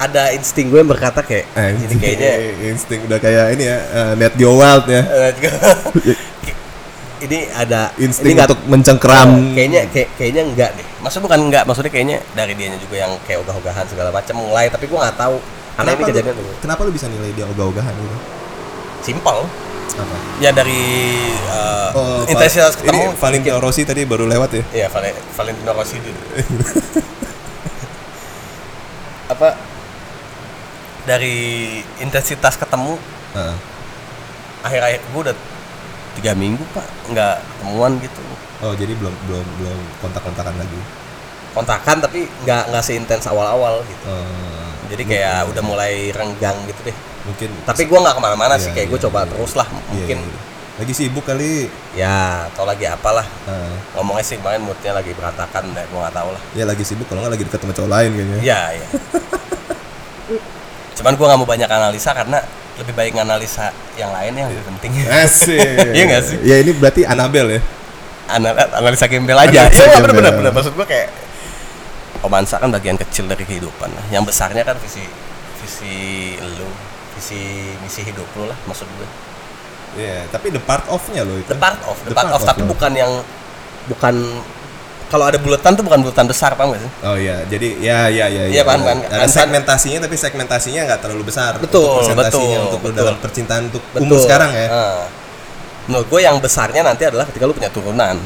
ada insting gue yang berkata kayak jadi
Anjing,
kayaknya
Eh, insting udah kayak ini ya eh, net Geo Wild ya
Eh, ini ada
insting
ini nggak- Eh,
untuk mencengkram
kayaknya kayak, kayaknya enggak deh maksudnya bukan enggak maksudnya kayaknya dari dianya juga yang kayak ogah-ogahan segala macam mulai tapi gua nggak tahu karena ini
kenapa lu,
kejadian dulu
kenapa lu bisa nilai dia ogah-ogahan gitu
simpel
apa
ya dari uh,
Oh,
intensitas
Val-
ketemu
ini Valentino Rossi tadi baru lewat
ya
ya
Valen Valentino Rossi dulu apa dari intensitas ketemu Eh.
Heeh.
akhir-akhir gua udah tiga minggu pak nggak ketemuan gitu
oh jadi belum belum belum kontak-kontakan lagi
kontakan tapi nggak nggak seintens awal-awal gitu
Eh,
jadi kayak udah mulai renggang gitu deh
mungkin
tapi gua nggak kemana-mana sih
Iya,
kayak gue
iya,
coba
iya.
terus lah mungkin
Iya, iya. lagi sibuk kali
ya atau lagi apalah
Ah,
ngomongnya sih kemarin moodnya lagi berantakan deh gue nggak tahu lah
ya lagi sibuk kalau nggak lagi deket sama cowok lain kayaknya
ya ya cuman gua nggak mau banyak analisa karena lebih baik analisa yang lain yang lebih penting
Asik.
Iya nggak sih?
Ya ini berarti Anabel ya.
Anal- analisa gembel aja
Analisa
iya
gembel.
bener-bener bener. maksud gua kayak romansa kan bagian kecil dari kehidupan lah yang besarnya kan visi visi lu visi misi hidup lu lah maksud gue
Iya, tapi the part of-nya loh itu.
The part of, the,
The
part,
part
of, tapi
of.
bukan yang bukan kalau ada buletan tuh bukan buletan besar paham gak sih?
Oh iya, jadi ya ya ya
Iya, paham, paham.
Ada
Kan-
segmentasinya tapi segmentasinya nggak terlalu besar.
Betul,
untuk presentasinya,
betul,
untuk
betul.
dalam percintaan untuk umur sekarang ya.
Nah, menurut gue yang besarnya nanti adalah ketika lu punya turunan.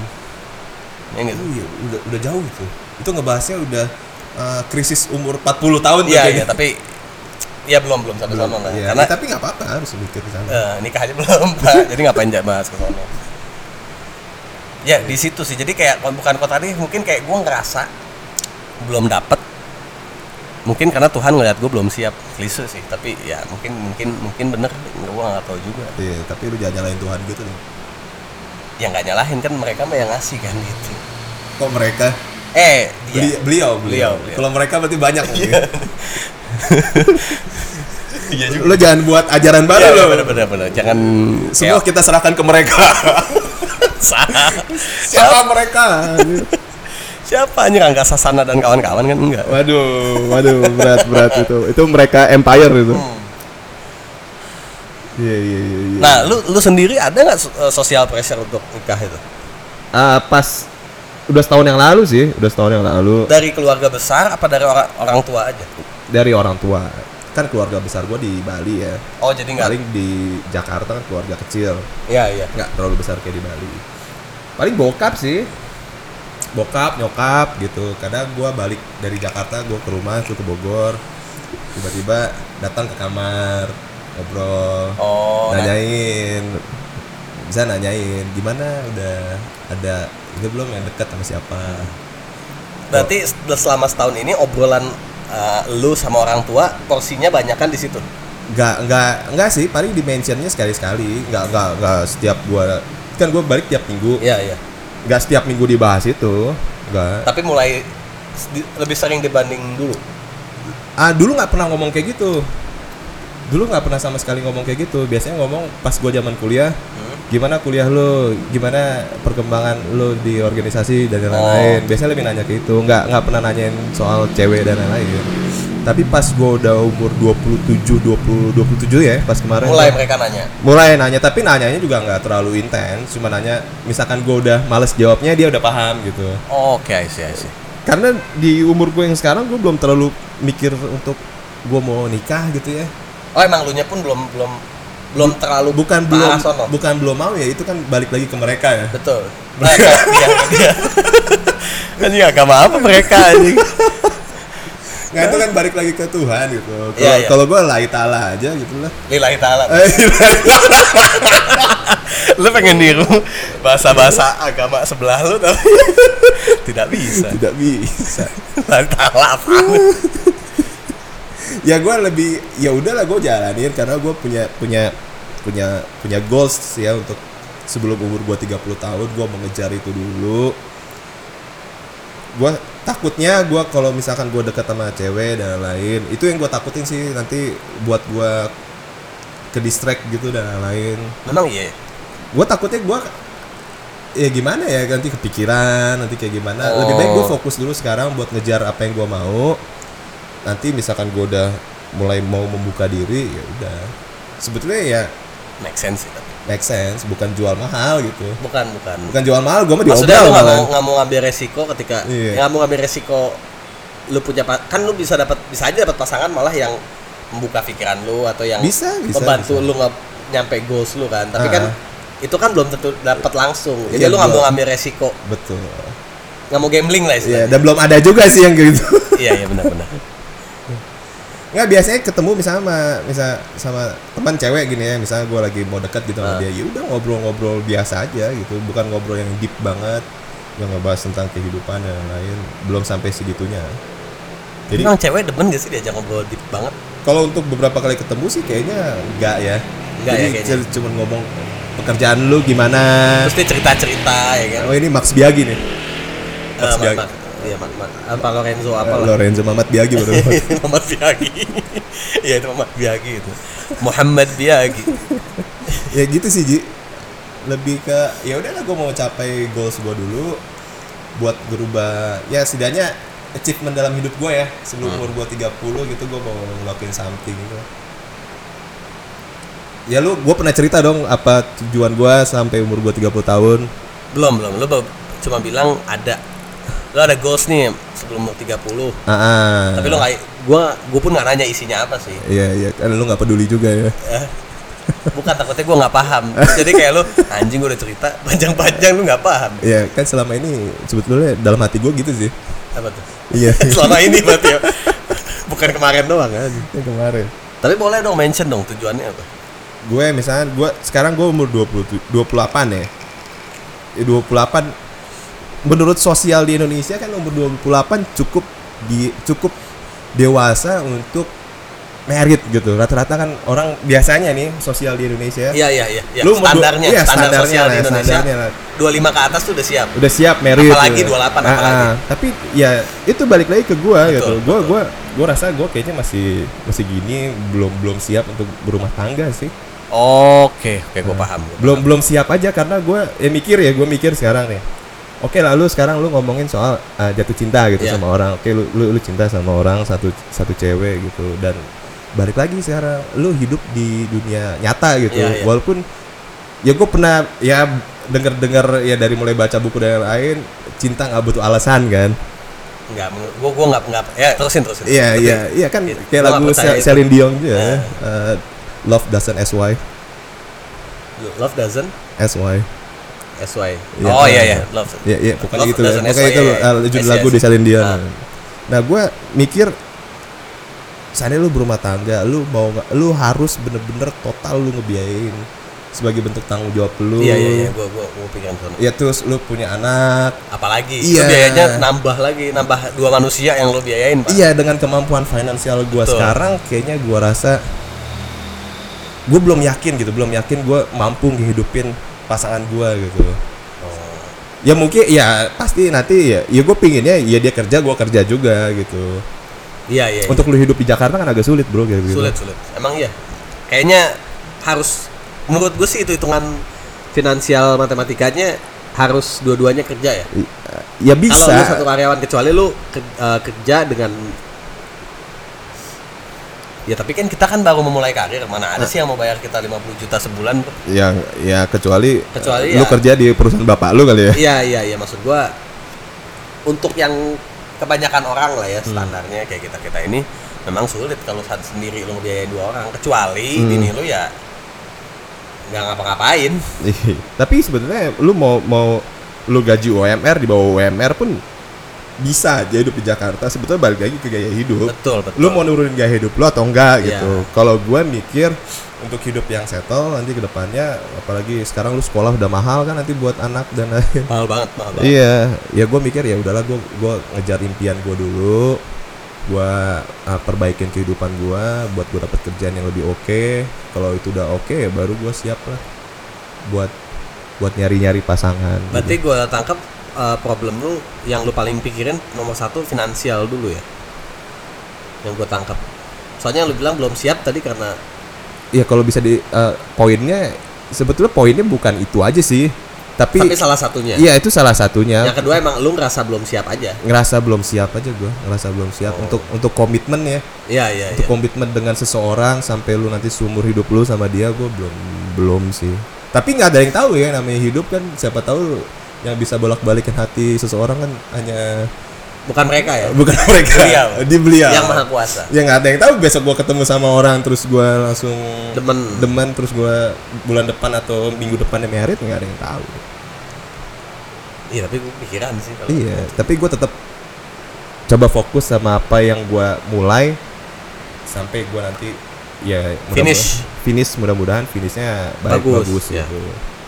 Ya gitu.
Uh, iya, udah udah jauh itu. Itu ngebahasnya udah uh, krisis umur 40 tahun tuh
Iya
kayaknya.
iya tapi ya belum belum sampai
Belum,
sana lah.
iya.
Karena
Ya, tapi nggak apa-apa harus mikir ke sana.
eh, nikah aja belum pak. Jadi ngapain aja bahas ke sana? Ya di situ sih. Jadi kayak bukan kota tadi mungkin kayak gue ngerasa belum dapet mungkin karena Tuhan ngeliat gue belum siap klise sih tapi ya mungkin mungkin mungkin bener gue nggak tahu juga
Iya, tapi lu jangan nyalain Tuhan gitu dong.
ya nggak nyalahin kan mereka mah yang ngasih kan gitu
Kok mereka
eh
Beli,
dia
beliau,
Beliau,
beliau.
beliau.
Kalau mereka berarti banyak.
iya
Lo jangan buat ajaran baru
Iya,
lo.
bener, bener, bener. jangan
Semua kita serahkan ke mereka.
kayak- Sa-
Siapa mereka?
siapa anjir angga sasana dan kawan-kawan kan enggak
waduh, waduh, berat berat itu. Itu mereka empire itu. Iya iya iya. iya.
nah lu lu sendiri ada nggak sosial pressure untuk nikah itu
Ah, pas udah setahun yang lalu sih, udah setahun yang lalu
dari keluarga besar apa dari orang orang tua aja
dari orang tua. Kan keluarga besar gua di Bali ya.
oh jadi nggak
Paling di Jakarta kan keluarga kecil.
ya ya
nggak terlalu besar kayak di Bali paling bokap sih bokap nyokap gitu kadang gua balik dari Jakarta gua ke rumah tuh ke Bogor tiba-tiba datang ke kamar ngobrol
oh nah,
nanyain bisa nanyain gimana udah ada ini belum yang dekat sama siapa
berarti se- selama setahun ini obrolan eh, lu sama orang tua porsinya banyak kan di situ
nggak nggak nggak sih paling di mentionnya sekali sekali nggak nggak nggak setiap gua kan gua balik tiap minggu
iya iya
nggak setiap minggu dibahas itu nggak
tapi mulai s- di- lebih sering dibanding dulu
ah dulu nggak pernah ngomong kayak gitu dulu nggak pernah sama sekali ngomong kayak gitu biasanya ngomong pas gua zaman kuliah
Hmm?
gimana kuliah lo gimana perkembangan lo di organisasi dan lain-lain biasanya lebih nanya ke itu nggak nggak pernah nanyain soal cewek dan lain-lain tapi pas gue udah umur 27 20 27 ya pas kemarin
mulai mereka nanya
mulai nanya tapi nanyanya juga nggak terlalu intens cuma nanya misalkan gue udah males jawabnya dia udah paham gitu
oh, oke I see, I see.
karena di umur gue yang sekarang gue belum terlalu mikir untuk gue mau nikah gitu ya
oh emang lu nya pun belum belum belum terlalu
bukan
ke
belum
arah sono.
bukan belum mau ya itu kan balik lagi ke mereka ya
betul nah, iya, iya, iya. Anjing, agama apa mereka anjing
nggak itu kan balik lagi ke Tuhan gitu kalau
Iya, iya.
kalau gue lai ta'ala aja gitu lah
lillahi ta'ala
Eh,
lu pengen niru bahasa-bahasa agama sebelah lu tapi tidak bisa
tidak bisa
lillahi ta'ala apa?
ya gue lebih ya udahlah gue jalanin karena gue punya punya punya punya goals ya untuk sebelum umur gue 30 tahun gue mengejar itu dulu gue takutnya gue kalau misalkan gue deket sama cewek dan lain itu yang gue takutin sih nanti buat gue ke distract gitu dan lain
memang iya
gue takutnya gue ya gimana ya nanti kepikiran nanti kayak gimana lebih baik gue
Oh.
fokus dulu sekarang buat ngejar apa yang gue mau nanti misalkan gue udah mulai mau membuka diri ya udah sebetulnya ya
make sense sih tapi.
make sense bukan jual mahal gitu
bukan bukan
bukan jual mahal gue mah
maksudnya lu
diobral
nggak mau
malah
nggak mau ngambil resiko ketika
Iya.
nggak mau ngambil resiko lu punya pa- kan lu bisa dapat bisa aja dapat pasangan malah yang membuka pikiran lu atau yang
bisa bisa
membantu
bisa.
lu nggak nyampe goals lu kan tapi
Ah.
kan itu kan belum tentu dapat langsung jadi
Iya,
lu nggak mau
belum.
ngambil resiko
betul
nggak mau gambling lah
ya
istilahnya
dan belum ada juga sih yang kayak gitu
iya iya benar-benar
nggak biasanya ketemu misalnya sama misal sama teman cewek gini ya misalnya gue lagi mau deket gitu
Ah.
sama dia ya udah ngobrol-ngobrol biasa aja gitu bukan ngobrol yang deep banget yang ngebahas tentang kehidupan dan lain belum sampai segitunya
jadi
jadi
cewek demen gak sih diajak ngobrol deep banget
kalau untuk beberapa kali ketemu sih kayaknya enggak ya
Nggak ya
jadi
kayaknya.
c- cuman ngomong pekerjaan lu gimana
terus dia cerita cerita ya kan
oh ini Max Biagi nih
Eh,
Mas
Mat-
Biagi.
Mat- iya mat, Mat. apa Lorenzo apa
Eh,
lah
Lorenzo Mamat Biagi baru
Muhammad Biagi ya itu Muhammad Biagi itu Muhammad Biagi
ya gitu sih Ji lebih ke ya udahlah gue mau capai goals gue dulu buat berubah ya setidaknya achievement dalam hidup gue ya sebelum
Hmm.
umur gue 30 gitu gue mau ngelakuin something gitu ya lu gue pernah cerita dong apa tujuan gue sampai umur gue 30 tahun
belum belum lu baru- cuma bilang ada lu ada goals nih sebelum umur 30
ah, ah.
tapi lu kayak gua gua pun nggak nanya isinya apa sih Eh,
Iya iya kan lu nggak peduli juga ya
bukan takutnya gua nggak paham jadi kayak lu anjing gua udah cerita panjang-panjang lu nggak paham
Iya kan selama ini sebetulnya dalam hati gue gitu sih
apa tuh
iya
selama ini berarti ya bukan kemarin doang kan
Yang kemarin
tapi boleh dong mention dong tujuannya apa
gue misalnya gue sekarang gue umur 20, 28 ya Ya, 28 menurut sosial di Indonesia kan umur 28 cukup di cukup dewasa untuk merit gitu rata-rata kan orang biasanya nih sosial di Indonesia
iya iya iya ya.
Lu mau du-
standarnya
iya,
standar
standarnya
sosial di
lah,
Indonesia
standarnya lah.
25 ke atas tuh udah siap
udah siap merit
Apalagi 28,
Ah,
apalagi.
ah. tapi ya itu balik lagi ke
Betul,
gua gitu gua
betul.
gua gua rasa gua kayaknya masih masih gini belum belum siap untuk berumah tangga sih
oke oke gua paham
belum belum siap aja karena gue ya mikir ya gue mikir sekarang nih oke lalu sekarang lu ngomongin soal uh, jatuh cinta gitu
Iya.
sama orang oke lu, lu lu cinta sama orang satu satu cewek gitu dan balik lagi sekarang lu hidup di dunia nyata gitu
Iya, iya.
walaupun ya gue pernah ya dengar-dengar ya dari mulai baca buku dan lain-lain cinta nggak butuh alasan kan
Enggak, menurut- gua gua enggak enggak ya terusin terusin.
iya
Tapi-
iya iya kan
Gitu.
kayak
Gua
lagu
nggak percaya
Sel-
itu. Iya.
Celine Dion juga ya, uh, love doesn't sy
Love doesn't
sy
SY.
Iya,
oh iya
iya.
iya, love.
Ya, ya pokoknya
Love
gitu lah.
doesn't iya,
Pokoknya
SY,
itu
ya, ya.
uh, judul
Yes,
lagu
yes.
di Celine Dion.
Ah.
Nah, gue mikir seandainya lu berumah tangga lu mau nggak lu harus bener-bener total lu ngebiayain sebagai bentuk tanggung jawab lu
Iya iya iya, gua gua gua pikiran sono.
Ya, terus lu punya anak
Apalagi
Iya.
lu biayanya nambah lagi, nambah dua manusia yang lu biayain, Pak.
iya dengan kemampuan finansial gua
Betul.
sekarang kayaknya gua rasa gue belum yakin gitu belum yakin gua mampu ngehidupin pasangan gua gitu
Oh.
ya mungkin ya pasti nanti ya ya gue pinginnya ya dia kerja gua kerja juga gitu
Iya iya. iya.
untuk lu hidup di Jakarta kan agak sulit bro kayak gitu
Sulit sulit. Emang iya. Kayaknya harus menurut gue sih itu hitungan finansial matematikanya harus dua-duanya kerja ya.
I- ya
Kalau lu satu
bisa
karyawan kecuali lu ke- eh, kerja dengan Ya tapi kan kita kan baru memulai karir, mana
Nah.
ada sih yang mau bayar kita 50 juta sebulan? Bro?
ya ya kecuali,
Kecuali
lu
ya.
kerja di perusahaan bapak lu kali ya
Iya iya iya maksud gua untuk yang kebanyakan orang lah
Hmm.
ya standarnya kayak kita kita ini memang sulit kalau saat sendiri lu ngebiayain dua orang kecuali
Hmm.
bini lu ya nggak ngapa-ngapain Iya.
Ih, Iya. tapi sebenarnya lu mau mau lu gaji UMR di bawah UMR pun bisa aja hidup di Jakarta sebetulnya balik lagi ke gaya hidup
betul betul
lu mau nurunin gaya hidup lu atau enggak
Iya.
gitu kalau gua mikir untuk hidup yang settle nanti ke depannya apalagi sekarang lu sekolah udah mahal kan nanti buat anak dan lain
mahal banget mahal banget
Iya, ya gue mikir ya udahlah gue gua ngejar impian gue dulu, gue perbaikin kehidupan gue, buat gue dapet kerjaan yang lebih oke. Kalau itu udah oke, ya baru gue siap lah buat buat nyari nyari pasangan. gitu.
berarti gua tangkap eh, problem lu yang lu paling pikirin nomor satu finansial dulu ya yang gua tangkap soalnya lu bilang belum siap tadi karena
Iya kalau bisa di eh, poinnya sebetulnya poinnya bukan itu aja sih, tapi,
tapi ya. kan? salah satunya
iya itu salah satunya.
yang kedua emang lu ngerasa belum siap aja
ngerasa belum siap aja gue, ngerasa belum siap
Oh.
untuk untuk komitmen ya.
iya iya iya
Untuk komitmen dengan seseorang sampai lu nanti seumur hidup lu sama dia gue belum belum sih tapi nggak ada yang tahu ya namanya hidup kan siapa tahu yang bisa bolak balikin hati seseorang kan hanya
bukan mereka ya
bukan mereka
Beliau.
di beliau
yang maha kuasa
ya nggak ada yang tahu besok gue ketemu sama orang terus gue langsung
demen
demen terus gue bulan depan atau minggu depan dia merit nggak ada yang tahu
iya tapi gue pikiran sih kalau
iya tapi gue tetap coba fokus sama apa yang gue mulai sampai gue nanti ya mudah-mudahan-
Finish.
finish mudah-mudahan finishnya baik
Bagus,
bagus,
ya.
gitu.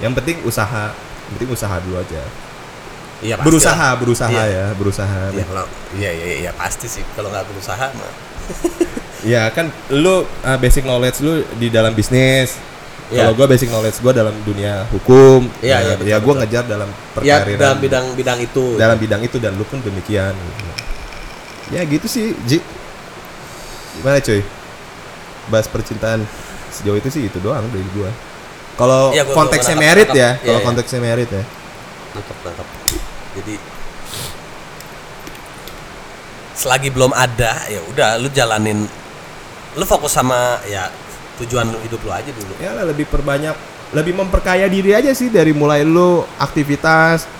yang penting usaha yang penting usaha dulu aja
iya pasti lah.
berusaha berusaha
Iya.
ya berusaha
iya kalau iya iya iya pasti sih kalau nggak berusaha mah
ya kan lu uh, basic knowledge lu di dalam bisnis
Iya.
kalau gue basic knowledge gue dalam dunia hukum
Iya,
ya,
iya, betul,
ya gue
betul.
ngejar dalam
ya
perkariran
dalam bidang-bidang itu
dalam bidang itu dan lu pun demikian ya gitu sih Ji gimana cuy bahas percintaan sejauh itu sih itu doang dari gua kalau
Iya, gua- gua
konteksnya
menangkap-
merit ya
menangkap. Iya,
kalau
iya.
konteksnya merit ya
Mantap, mantap. jadi selagi belum ada ya udah lu jalanin lu fokus sama ya tujuan lu hidup lu aja dulu
ya lah, lebih perbanyak lebih memperkaya diri aja sih dari mulai lu aktivitas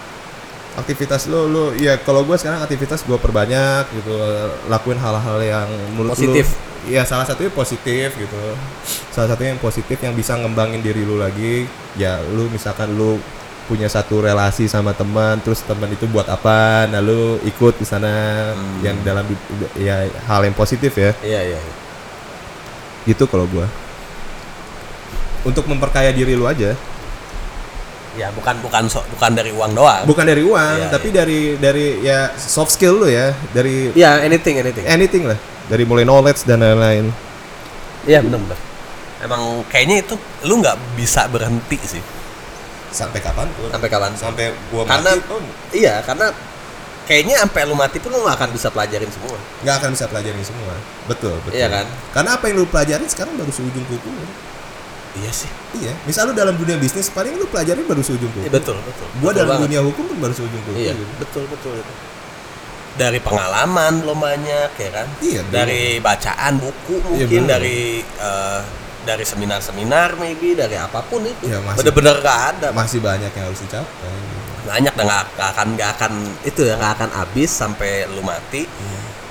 aktivitas lu lu ya kalau gua sekarang aktivitas gua perbanyak gitu lakuin hal-hal yang menurut lu-
Positif.
ya salah satunya positif gitu salah satunya yang positif yang bisa ngembangin diri lu lagi ya lu misalkan lu punya satu relasi sama teman terus teman itu buat apa nah lu ikut di sana yang dalam ya hal yang positif ya
iya iya iya.
gitu kalau gua untuk memperkaya diri lu aja
ya bukan bukan so- bukan dari uang doang
bukan dari uang
Iya,
tapi dari dari ya soft skill lu ya dari
ya anything anything
anything lah dari mulai knowledge dan lain-lain
iya benar benar emang kayaknya itu lu nggak bisa berhenti sih
sampai kapan pun
sampai kapan
sampai gua
Karena-
mati oh, pun
Iya, karena kayaknya sampai lu mati pun lu gak akan bisa pelajarin semua.
nggak akan bisa pelajari semua betul betul
Iya kan?
karena apa yang lu pelajari sekarang baru seujung kuku
Iya sih.
iya misal lu dalam dunia bisnis paling lu pelajari baru seujung kuku
betul, betul. Iya,
gua
Betul
dalam
banget.
dunia hukum gitu. pun baru seujung kuku
Iya, betul, betul. betul. Dari pengalaman lo banyak ya kan?
Iya,
Dari bacaan buku
Iya,
mungkin
bener.
dari eh, dari seminar-seminar maybe dari apapun itu.
Iya, masih-
Bener-bener gak ada.
masih banyak yang harus dicapai
Banyak dan gak, gak akan gak akan itu ya gak akan habis sampai lu mati.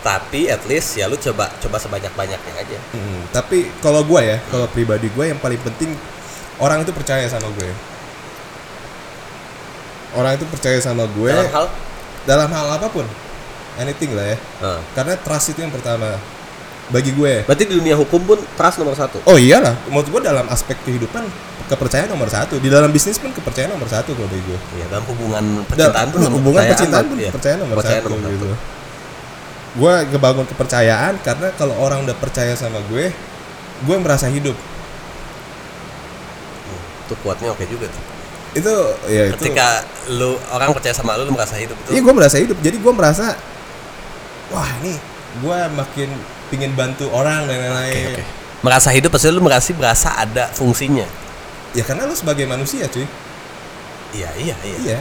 Tapi at least ya lu coba coba sebanyak-banyaknya aja.
Mm, tapi kalau gua ya kalau pribadi gua yang paling penting orang itu percaya sama gue orang itu percaya sama gue
Dalam hal
dalam hal apapun anything lah ya
eh,
karena trust itu yang pertama bagi gue
Berarti di dunia hukum pun trust nomor satu.
oh iyalah menurut gue dalam aspek kehidupan kepercayaan nomor satu di dalam bisnis pun kepercayaan nomor satu kalau bagi gue
Iya, dalam hubungan percintaan pun nomor-
hubungan
percayaan
percintaan
nomor-
pun
iya,
percayaan nomor
percayaan
satu,
nomor
gitu. gue ngebangun kepercayaan karena kalau orang udah percaya sama gue gue merasa hidup
Itu kuatnya oke juga tuh.
itu ya itu
Ketika lu orang percaya sama lu, lu merasa hidup
Iya
itu.
gue merasa hidup, jadi gue merasa wah ini gue makin pingin bantu orang dan lain-lain.
Oke, oke. Merasa hidup pasti lu merasa berasa ada fungsinya.
Ya karena lu sebagai manusia cuy,
Iya, iya, iya.
iya.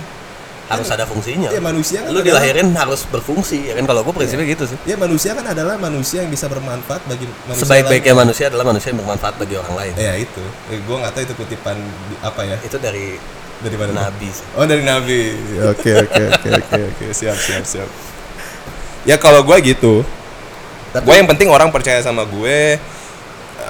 Harus ada fungsinya.
Iya manusia kan
Lu
adalah-
dilahirin harus berfungsi, ya kan? Kalau gue prinsipnya gitu sih.
Ya manusia kan adalah manusia yang bisa bermanfaat bagi manusia.
Sebaik-baiknya
lain.
manusia adalah manusia yang bermanfaat bagi orang lain.
Ya itu, gue nggak tahu itu kutipan di- apa ya
Itu dari
dari mana.
Nabi. sih.
Oh dari Nabi. Oke oke oke oke oke siap siap siap. Ya kalau gue gitu,
Tapi
gue yang penting orang percaya sama gue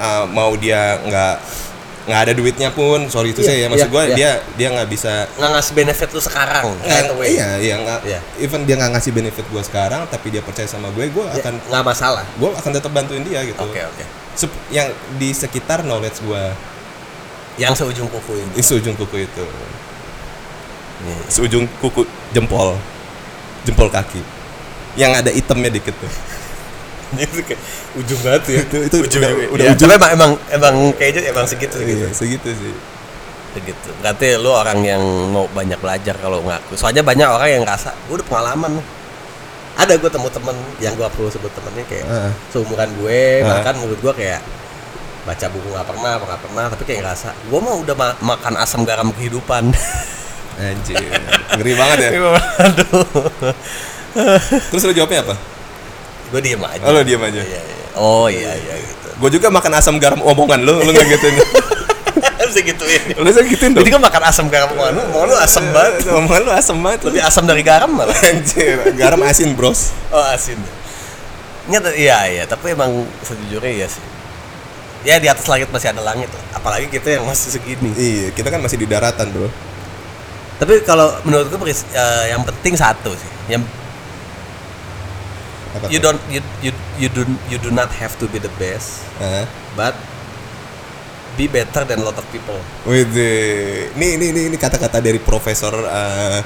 uh, mau dia nggak nggak ada duitnya pun sorry itu
Iya,
saya ya maksud
iya,
gue
iya.
dia dia nggak bisa
nggak ngasih benefit lu sekarang. right
nggak-
away.
iya iya nggak
Iya.
even dia nggak ngasih benefit gue sekarang tapi dia percaya sama gue gue
Ya,
akan
nggak masalah.
gue akan tetap bantuin dia gitu
Oke, oke.
Sep- yang di sekitar knowledge gue
Yang seujung kuku ini.
di seujung kuku itu
Iya.
seujung kuku jempol jempol kaki yang ada itemnya dikit tuh
Iya, itu kayak ujung banget ya
Itu- itu
ujung
udah-
ya.
udah
Ya,
ujung.
tapi emang emang emang kayaknya emang segitu gitu
iya segitu sih
segitu berarti lu orang yang mau banyak belajar kalau ngaku soalnya banyak orang yang ngerasa gue udah pengalaman nih." ada gue temu temen yang gue perlu sebut temennya kayak
Heeh.
seumuran gue
Heeh.
bahkan menurut gue kayak baca buku nggak pernah apa nggak pernah tapi kayak ngerasa gue mah udah ma- makan asam garam kehidupan
anjir ngeri banget ya terus lo jawabnya apa
gue diem aja
Oh, lu diem aja.
Iya, iya. oh iya iya gitu
Gue juga makan asam garam omongan lu, lu nggak gituin.
bisa gituin
lu bisa gituin
ya.
dong.
jadi gue makan asam garam mau lu mau lu asam banget
Omongan lu asam banget. Lu
lebih asam dari garam malah
anjir, garam asin, Bros.
oh asin
ya.
nyata iya iya tapi emang sejujurnya iya sih ya di atas langit masih ada langit lah apalagi kita yang masih segini
Iya, kita kan masih di daratan, Bro.
tapi kalau menurut gue peris- eh, yang penting satu sih yang
Apa
you
tuh?
don't you you you do you do not have to be the best
Hah?
but be better than lot of people
Wih, deh. ini ini ini, ini kata-kata dari profesor eh,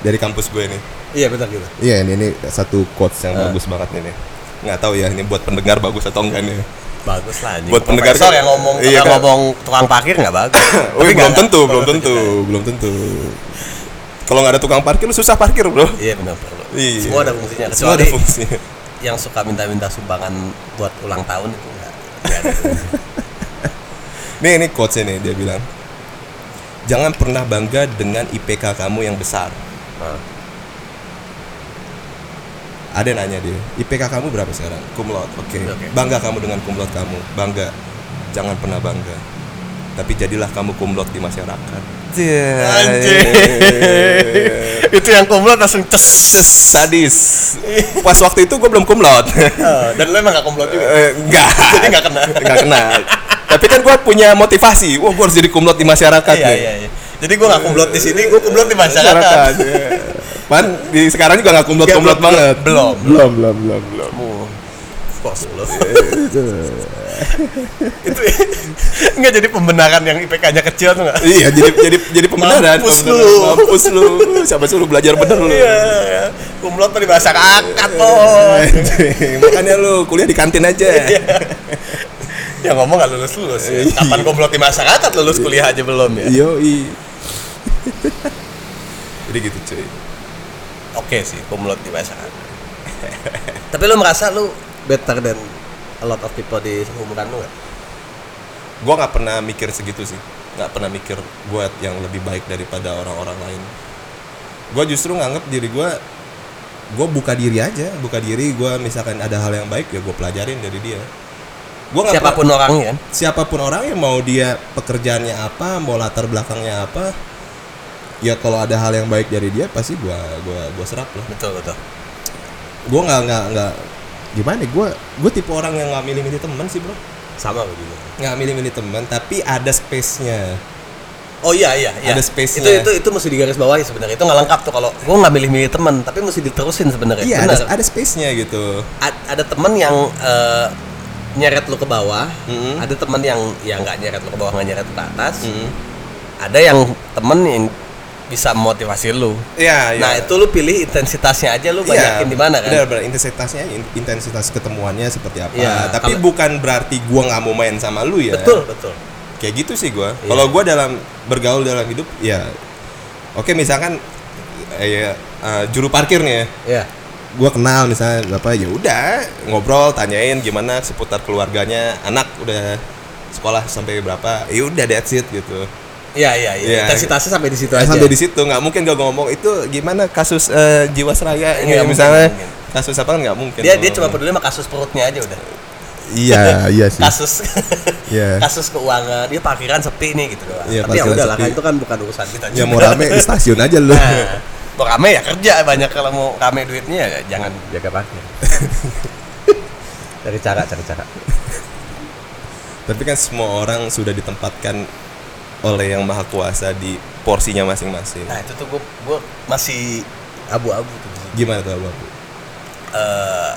dari kampus gue nih.
iya benar gitu
Iya, ini, ini satu quotes yang bagus banget nih. nih. Nggak tahu ya, ini buat pendengar bagus atau enggak nih.
bagus lah anjing.
Buat pendengar
Profesor
kan-
yang ngomong
iya
yang
kan.
ngomong tukang parkir nggak bagus
Wih,
Tapi
belum
nggak-
tentu, belum tentu, belum tentu. Kalau nggak ada tukang parkir, lu susah parkir, Bro.
iya benar perlu
Iya.
semua ada fungsinya
Semua ada
Kecuali-
fungsinya.
yang suka minta-minta sumbangan buat ulang tahun itu enggak. enggak ada.
Nih ini quotesnya nih dia bilang Jangan pernah bangga dengan IPK kamu yang besar
Nah,
Ada yang nanya dia IPK kamu berapa sekarang? Cum laude Oke
Oke.
Bangga kamu dengan cum laude kamu Bangga Jangan pernah bangga Tapi jadilah kamu cum laude di masyarakat
Anjing. itu yang kumlot langsung ces.
Sadis Pas waktu itu gue belum cum laude
Oh, dan lu emang gak kumlot juga.
Eh, Enggak
Jadi enggak kena.
Enggak kena Tapi kan gue punya motivasi Wah gue harus jadi cum laude di masyarakat
Iya
nih.
iya iya. Jadi gua gak kumlot di sini, gua kumlot di
Masyarakat
masyarakat.
iya. Pan di sekarang juga nggak kumlot
Iya,
kumlot
belum,
banget
belum.
belum belum belum belum
Oh, Of course lu. itu enggak jadi pembenaran yang IPK-nya kecil tuh enggak?
Iya, jadi jadi jadi pembenaran.
Mampus
pembenaran.
lu.
Mampus lu. Siapa suruh belajar bener lu?
Iya, iya. kumlot tuh di bahasa akad loh.
iya. Anjing, Makanya lu kuliah di kantin aja.
Iya. ya ngomong gak lulus lulus ya. Kapan kumlot di masyarakat lulus kuliah aja belum
Iya,
ya?
Yoi. Jadi gitu cuy.
oke sih kumlot di masyarakat tapi lu merasa lu better than a lot of people di umuran lu gak?
Gua nggak pernah mikir segitu sih. Nggak pernah mikir buat yang lebih baik daripada orang-orang lain. Gua justru nganggap diri gua gue buka diri aja, buka diri gua misalkan ada hal yang baik ya gue pelajarin dari dia. Gua nggak pernah-
siapapun orangnya kan
siapapun orangnya mau dia pekerjaannya apa mau latar belakangnya apa ya kalau ada hal yang baik dari dia pasti gua gua gua serap lah
betul betul
gua nggak nggak nggak gimana ya, gua gua tipe orang yang nggak milih-milih teman sih bro
sama gue juga
nggak milih-milih teman tapi ada space nya
oh iya iya, iya.
Ada space-nya.
itu itu itu mesti digaris bawahi sebenarnya itu nggak lengkap tuh kalau gue nggak milih-milih teman Eh, tapi mesti diterusin sebenarnya
iya
Benar.
ada ada space nya gitu
A- ada teman yang eh, nyeret lu ke bawah
Mm-mm.
ada teman yang yang nggak nyeret lu ke bawah nggak nyeret lu ke atas ada yang temen yang bisa motivasi lu
Iya, iya.
nah itu lu pilih intensitasnya aja lu
Iya,
banyakin di mana kan
benar, benar. intensitasnya in- intensitas ketemuannya seperti apa
Iya,
tapi
kalau-
bukan berarti gua nggak mau main sama lu ya
betul betul
kayak gitu sih gua
Iya.
kalau gua dalam bergaul dalam hidup ya oke misalkan eh, ya, eh, juru parkir nih ya
ya
gua kenal misalnya apa ya udah ngobrol tanyain gimana seputar keluarganya anak udah sekolah sampai berapa ya udah that's it gitu
ya ya, ya.
Iya.
intensitasnya sampai di situ aja
sampai di situ nggak mungkin gua ngomong itu gimana kasus eh, jiwasraya ini
Nggak mungkin,
misalnya
nggak mungkin.
kasus apa kan nggak mungkin
dia
gua
dia cuma
ngomong.
peduli sama kasus perutnya aja udah
iya iya sih
kasus
Iya.
kasus keuangan dia parkiran sepi nih gitu doang
Iya,
tapi ya
parkiran
udah lah
sepi.
kan itu kan bukan urusan kita
Ya
juga.
mau rame di stasiun aja lu.
Nah, mau rame ya kerja banyak kalau mau rame duitnya ya jangan jaga parkir dari cara cari cara
Tapi kan semua orang sudah ditempatkan oleh yang maha kuasa di porsinya masing-masing.
nah itu tuh gue gue masih abu-abu tuh
Gimana tuh Bapak?
Eh,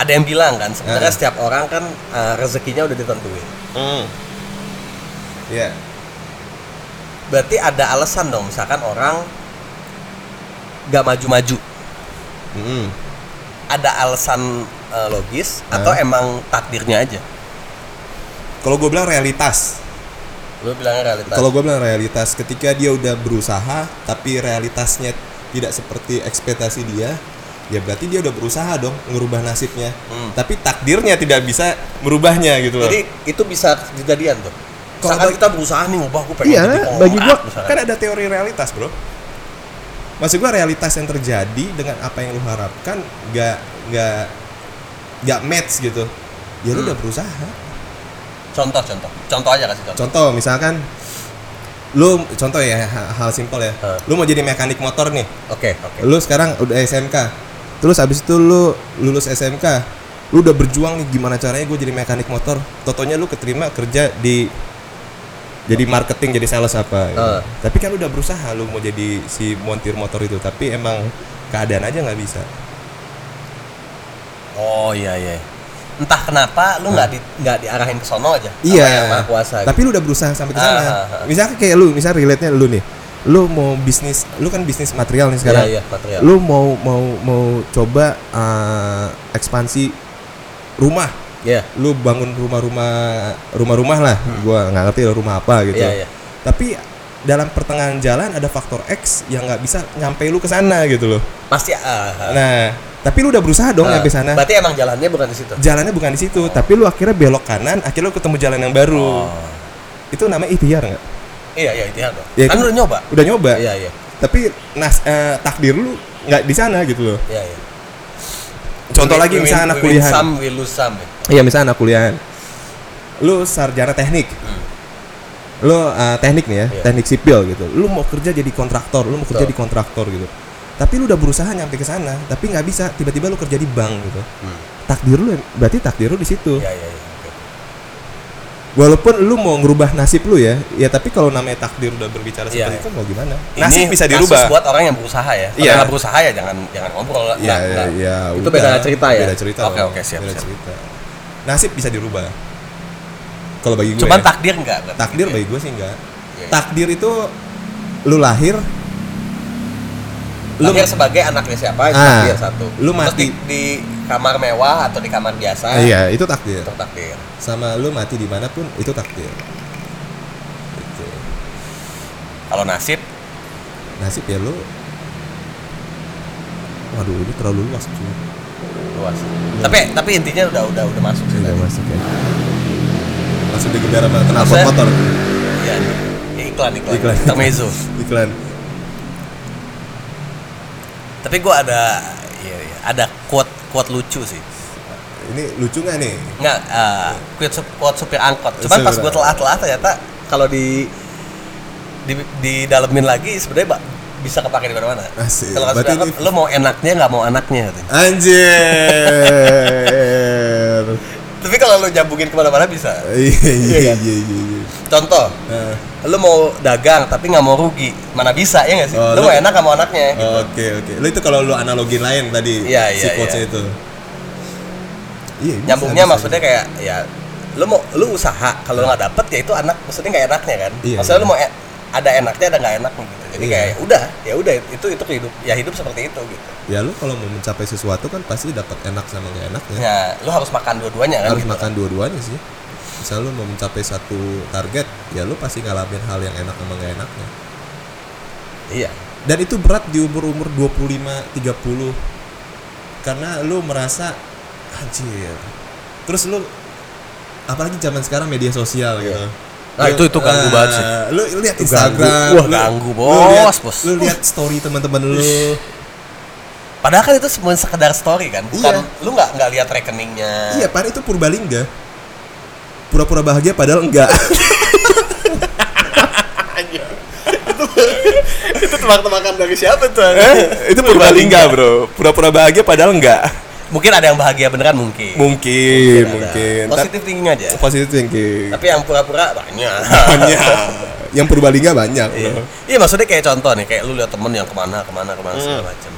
ada yang bilang kan sebenarnya
Ah.
setiap orang kan eh, rezekinya udah ditentuin
Hmm. Ya,
berarti ada alasan dong misalkan orang gak maju-maju
hmm.
ada alasan eh, logis atau
Ah.
emang takdirnya aja
Kalau gue bilang realitas.
lu bilangnya realitas
Kalau gue bilang realitas ketika dia udah berusaha tapi realitasnya tidak seperti ekspektasi dia, ya berarti dia udah berusaha dong ngerubah nasibnya.
Hmm.
Tapi takdirnya tidak bisa merubahnya gitu loh.
Jadi itu bisa kejadian tuh.
Kalau
Misalkan
bagi-
kita berusaha nih ubah gue pengen
Iya,
jadi pengusaha,
bagi gua
misalkan.
kan ada teori realitas, Bro. Maksud gua realitas yang terjadi dengan apa yang lu harapkan gak gak gak match gitu. Ya
Hmm.
lu udah berusaha.
contoh contoh. Contoh aja kasih contoh.
Contoh misalkan lu contoh ya ha- hal simpel ya.
Hah.
Lu mau jadi mekanik motor nih.
Oke, oke.
Lu sekarang udah SMK. Terus habis itu lu lulus SMK. Lu udah berjuang nih gimana caranya gue jadi mekanik motor. Totonya lu keterima kerja di jadi marketing jadi sales apa gitu.
Eh.
Tapi kan lu udah berusaha lu mau jadi si montir motor itu, tapi emang keadaan aja nggak bisa.
Oh iya iya. Entah kenapa lu nggak di nggak diarahin ke sono aja. sama Yang Iya. maha kuasa.
Iya.
gitu.
Tapi lu udah berusaha sampai ke sana.
Ah, ah, ah.
Misalnya kayak lu, misalnya relate-nya lu nih. Lu mau bisnis, lu kan bisnis material nih sekarang.
Iya, iya, material.
Lu mau mau mau coba eh, ekspansi rumah
Iya.
lu bangun rumah-rumah rumah-rumah lah gua nggak ngerti lah rumah apa gitu
Hmm. Iya, iya.
tapi dalam pertengahan jalan ada faktor X yang nggak bisa nyampe lu ke sana gitu loh
Pasti ah, ah.
nah tapi lu udah berusaha dong
Ah,
nyampe sana
Berarti emang jalannya bukan di situ.
jalannya bukan di situ tapi lu akhirnya belok kanan akhirnya lu ketemu jalan yang baru
Oh.
itu namanya ikhtiar nggak
Iya, iya, itu dong.
Iya,
kan
kan?
lu nyoba.
udah nyoba
Iya, iya.
tapi nas eh, takdir lu nggak di sana gitu loh
Iya, iya.
contoh
We-
lagi
we win-
misalnya anak
we win
kuliahan
Some we lose some. ya.
Iya misalnya anak kuliahan Lu sarjana teknik Lu uh, teknik nih ya,
Hmm. Iya.
teknik sipil gitu Lu mau kerja jadi kontraktor, lu mau kerja
Betul.
di kontraktor gitu Tapi lu udah berusaha nyampe ke sana Tapi nggak bisa, tiba-tiba lu kerja di bank gitu Takdir lu, berarti takdir lu di situ
Iya, iya, iya. Oke.
Walaupun lu mau ngerubah nasib lu ya Ya tapi kalau namanya takdir udah berbicara
Iya, iya.
seperti itu mau gimana
Ini
Nasib bisa
kasus
dirubah
buat orang yang berusaha ya. Kalau
Iya.
nggak berusaha ya jangan jangan ngobrol. lah.
Iya,
Nggak,
iya,
nggak.
iya,
Nah, Itu
udah.
beda cerita ya.
Beda cerita
Oke,
dong,
oke, siap,
beda
siap.
cerita. Nasib bisa dirubah Kalau bagi gue
Cuman
ya.
takdir enggak?
Takdir bagi gue sih enggak.
Iya.
Takdir itu lu lahir,
Lu
lu
sebagai anaknya siapa? Itu
Ah,
takdir satu.
lu
Terus
mati.
di, di kamar mewah atau di kamar biasa?
Ah, iya itu takdir.
Itu takdir.
Sama lu mati dimanapun itu takdir. Gitu.
Kalau nasib
Nasib ya lu. Waduh ini terlalu luas cuy.
luas. Tapi tapi intinya udah udah udah masuk sih. tadi.
Tidak Iya. masuk ya. Langsung digeber sama knalpot
Maksudnya-
motor.
Iya. Ya, iklan iklan.
Iklan.
Intermezzo.
Iklan.
tapi gua ada iya, iya, ada quote quote lucu sih.
Ini lucu nggak nih?
Enggak, eh quote, sup- quote supir angkot. Cuman pas gue
Supir.
telah-telah ternyata kalau di di didalemin lagi sebenarnya ba- bisa kepake di mana-mana.
Asik.
Kalau supir
Berarti
angkot,
ini-
lu mau enaknya nggak mau anaknya katanya.
Anjir.
Tapi kalau lu nyambungin kemana-mana bisa.
Iya
Iya,
iya iya
kan?
iya. iya.
Contoh,
Ah.
lu mau dagang tapi nggak mau rugi, mana bisa ya nggak sih?
Oh,
lu,
lu-
mau enak nggak mau anaknya.
Oke oke. Lu itu kalau lu analogi lain tadi
Iya,
si
iya,
quotes
iya.
itu. Iya, bisa,
nyambungnya
bisa,
maksudnya kayak ya lu mau lu usaha kalau lu nggak dapet ya itu anak maksudnya nggak enaknya kan
Iya,
maksudnya
iya.
lu mau e- ada enaknya ada nggak enaknya gitu jadi
Iya.
kayak ya udah ya udah itu itu hidup ya hidup seperti itu gitu
ya lu kalau mau mencapai sesuatu kan pasti dapat enak sama gak enaknya
ya lu harus makan dua-duanya kan
Iya. harus
gitu.
makan dua-duanya sih misal lu mau mencapai satu target ya lu pasti ngalamin hal yang enak sama gak enaknya
iya
dan itu berat di umur-umur 25 30 karena lu merasa anjir terus lu apalagi zaman sekarang media sosial gitu
Nah,
Lu,
itu- itu ganggu
ah,
banget sih.
lu lihat
Itu
Instagram
ganggu. Wah,
lu-
ganggu,
lu lihat-
bos, Iya. bos.
lu lihat story teman-teman lu
padahal kan itu cuma sekedar story kan bukan
Iya.
lu nggak nggak lihat rekeningnya
iya pan itu purbalingga pura-pura bahagia padahal enggak
itu tebak-tebakan dari
Iya,
siapa tuh Eh?
itu purbalingga bro pura-pura bahagia padahal enggak
mungkin ada yang bahagia beneran mungkin
mungkin
Ada.
mungkin Ta-
positif thinking aja
Iya, positif thinking
tapi yang pura-pura banyak
banyak yang purbalingga banyak
Iya.
bro.
Iya maksudnya kayak contoh nih, kayak lu lihat temen yang kemana kemana kemana segala macem.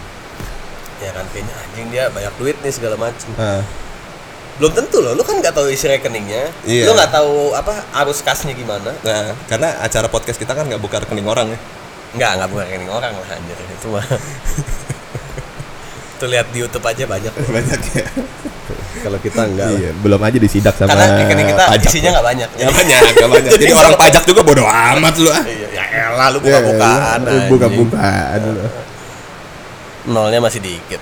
Ya kan kayaknya anjing dia banyak duit nih segala macem.
Ah,
Belum tentu loh, lu kan nggak tahu isi rekeningnya,
Iya.
lu nggak tahu apa arus kasnya gimana.
nah, karena acara podcast kita kan nggak buka rekening orang ya.
Nggak nggak bukan rekening orang lah anjir itu mah. Tuh lihat di YouTube aja banyak. loh.
Banyak ya.
Kalau kita enggak. lah.
Iya, belum aja disidak sama
Karena rekening kita
pajak.
ya.
isinya nggak banyak.
Iya.
Nggak banyak, nggak banyak. Jadi,
Jadi
orang
kalau-
pajak juga bodo amat lu ah.
Iya, ya elah lu buka-bukaan.
Iya,
anjing.
Buka-bukaan.
Iya.
lu.
nolnya masih dikit.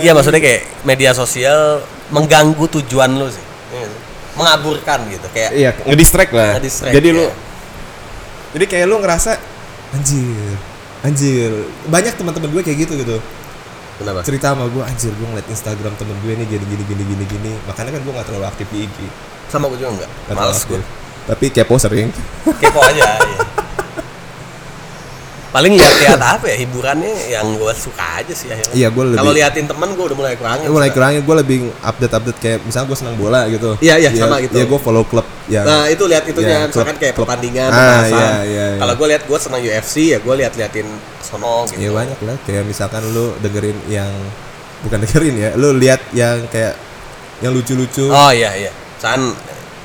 Iya maksudnya kayak media sosial mengganggu tujuan lu sih, Iya nggak sih? mengaburkan gitu kayak
Iya.
Ngedistract iya. lah.
ngedistract,
jadi
ya.
lu-
Jadi kayak lu ngerasa anjir, anjir. Banyak teman-teman gue kayak gitu gitu.
kenapa?
Cerita sama gue, anjir gue ngeliat Instagram temen gue nih gini gini gini gini gini. Makanya kan gue nggak terlalu aktif di IG.
Sama gue juga enggak,
Nggak terlalu
males gue,
aktif. Tapi kepo sering.
kepo aja. iya. Paling lihat-lihat apa ya hiburannya yang gue suka aja sih akhirnya.
Iya, gue lebih-
Kalau liatin temen gue udah mulai kurang.
gue mulai kurangnya gue lebih update update kayak misalnya gue senang bola gitu
Iya, iya,
Ya,
sama gitu.
ya gue follow klub ya
Nah itu lihat itunya
Iya,
misalkan
klub-
kayak
klub.
pertandingan,
Ah,
pembahasan.
iya, iya, iya.
Kalau gue lihat gue senang UFC ya gue lihat-liatin sono gitu.
ya banyak lah kayak misalkan lu dengerin yang bukan dengerin ya lu lihat yang kayak yang lucu-lucu
Oh iya iya. San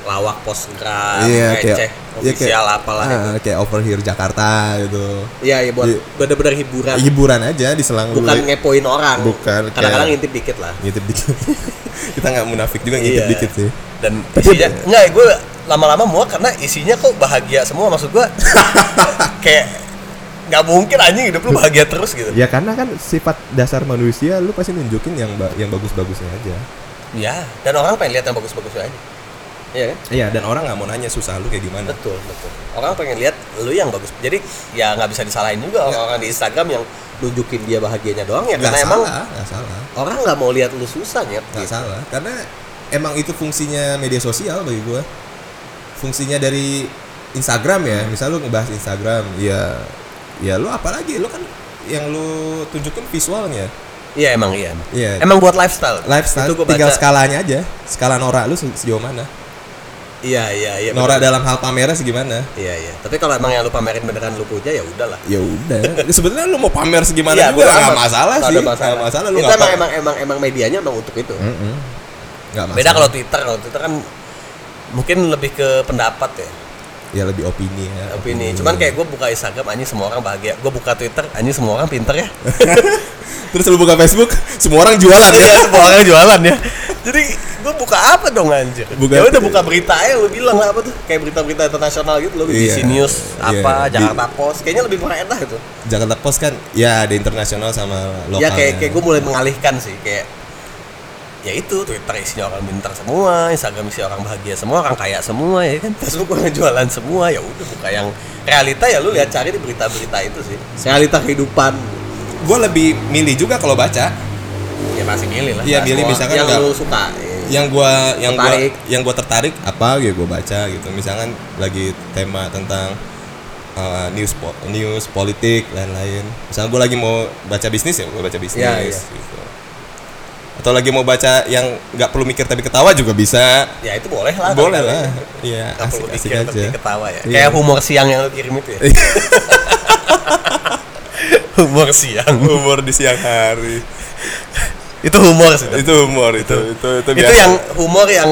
lawak postgram,
Iya, kayak-
receh,
iya, kayak-
official apalah. itu.
ah, kayak over here Jakarta gitu
Iya iya buat
Iya.
bener-bener hiburan.
hiburan aja diselang
Bukan
dulu.
ngepoin orang.
Bukan, kayak-
Kadang-kadang ngintip dikit lah.
ngintip dikit kita nggak munafik juga ngintip
Iya.
dikit sih
Dan isinya enggak gue lama-lama muak karena isinya kok bahagia semua maksud gue. kayak nggak mungkin anjing hidup
Iya.
lu bahagia terus gitu.
ya karena kan sifat dasar manusia lu pasti nunjukin yang ba- yang bagus-bagusnya aja
Ya, dan orang pengen lihat yang bagus-bagusnya aja. Iya kan?
iya dan orang nggak mau nanya susah lu kayak gimana
Betul, betul. Orang pengen lihat lu yang bagus. Jadi ya nggak bisa disalahin juga orang-orang di Instagram yang nunjukin dia bahagianya doang ya
Iya. nggak
karena emang
salah nggak salah
orang nggak mau lihat lu susah ya.
nggak salah karena emang itu fungsinya media sosial bagi gua fungsinya dari Instagram ya
Hmm.
misal lu ngebahas Instagram ya ya lu apalagi lu kan yang lu tunjukin visualnya
Iya emang iya. emang.
Iya.
Emang buat lifestyle.
lifestyle
Itu gua
tinggal
baca.
skalanya aja skala norak lu se- sejauh mana
Iya iya iya.
norak
bener.
dalam hal pamernya segimana
Iya iya. Tapi kalau emang yang lu pamerin beneran lu punya ya udahlah.
ya udah sebenarnya lu mau pamer segimana
Iya,
juga
gua
nggak
sama.
masalah
Nggak
sih
ada masalah.
nggak masalah lu
itu
nggak
emang,
pa-
emang emang emang medianya emang untuk itu.
Mm-mm. nggak masalah
Beda kalau Twitter. Kalau Twitter kan mungkin lebih ke pendapat ya
ya lebih opini ya
opini cuman kayak gue buka Instagram anjing semua orang bahagia gue buka Twitter anjing semua orang pinter ya
terus lu buka Facebook semua orang jualan ya
Iya, semua orang jualan ya. Jadi gue buka apa dong anjir?
Buka-
ya udah buka berita aja lu bilang lah apa tuh? Kayak berita-berita internasional gitu lo
Iya.
BBC News
Iya,
apa
di-
Jakarta Post. Kayaknya lebih enak itu.
Jakarta Post kan ya ada internasional sama lokal.
ya kayak kayak gue mulai mengalihkan sih kayak ya itu Twitter isinya orang pintar semua, Instagram isinya orang bahagia semua, orang kaya semua ya kan. Facebook orang jualan semua ya udah buka yang realita ya lu lihat cari di berita-berita itu sih. Realita kehidupan.
Gua lebih milih juga kalau baca.
Ya pasti milih lah.
Iya,
Nah,
milih
semua
misalkan
yang
nggak- Iya.
lu suka. ya.
Yang gua yang gua
Tertarik.
yang gua tertarik apa ya gua baca gitu. Misalkan lagi tema tentang uh, news po- news politik lain-lain. Misalnya gua lagi mau baca bisnis ya gua baca bisnis
Iya, iya.
gitu. Atau lagi mau baca yang nggak perlu mikir tapi ketawa juga bisa.
Ya itu boleh lah.
Boleh
tapi-
lah. Iya,
Gak perlu
asik-asik
dikira tapi
aja.
ketawa ya.
Iya.
Kayak humor siang yang lu kirim itu ya. humor siang.
Humor di siang hari.
itu humor sih.
itu humor itu itu itu,
itu
biasa.
yang humor yang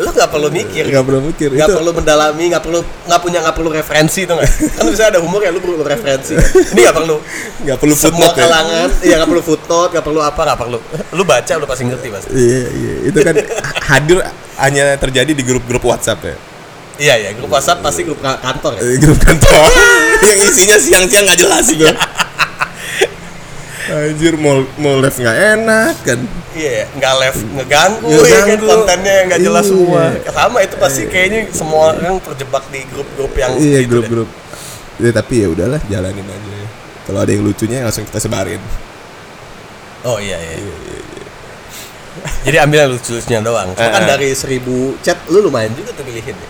lu nggak perlu mikir
nggak perlu mikir
nggak
itu
perlu mendalami nggak perlu nggak punya nggak perlu referensi tuh nggak kan bisa ada humor ya lu perlu referensi ini nggak perlu
nggak perlu
semua
footnote ya.
kalangan ya nggak perlu footnote nggak perlu apa nggak perlu lu baca lu pasti ngerti pasti
iya iya itu kan
hadir hanya terjadi di grup-grup WhatsApp ya
iya iya grup WhatsApp pasti grup ka- kantor ya
eh, grup kantor
yang isinya siang-siang nggak jelas itu anjir mau mau live nggak enak kan
Iya, nggak live ngeganggu, Iya.
Ngeganggu.
ya kan kontennya yang nggak jelas
Iya.
semua. Sama itu pasti kayaknya semua orang terjebak di grup-grup yang
iya
gitu deh.
grup-grup
ya tapi ya udahlah jalanin aja ya. kalau ada yang lucunya langsung kita sebarin
Oh iya iya. Jadi ambil yang lucu-lucunya doang. Cuma kan
Eh, eh.
dari seribu chat lu lumayan juga tuh pilihin ya.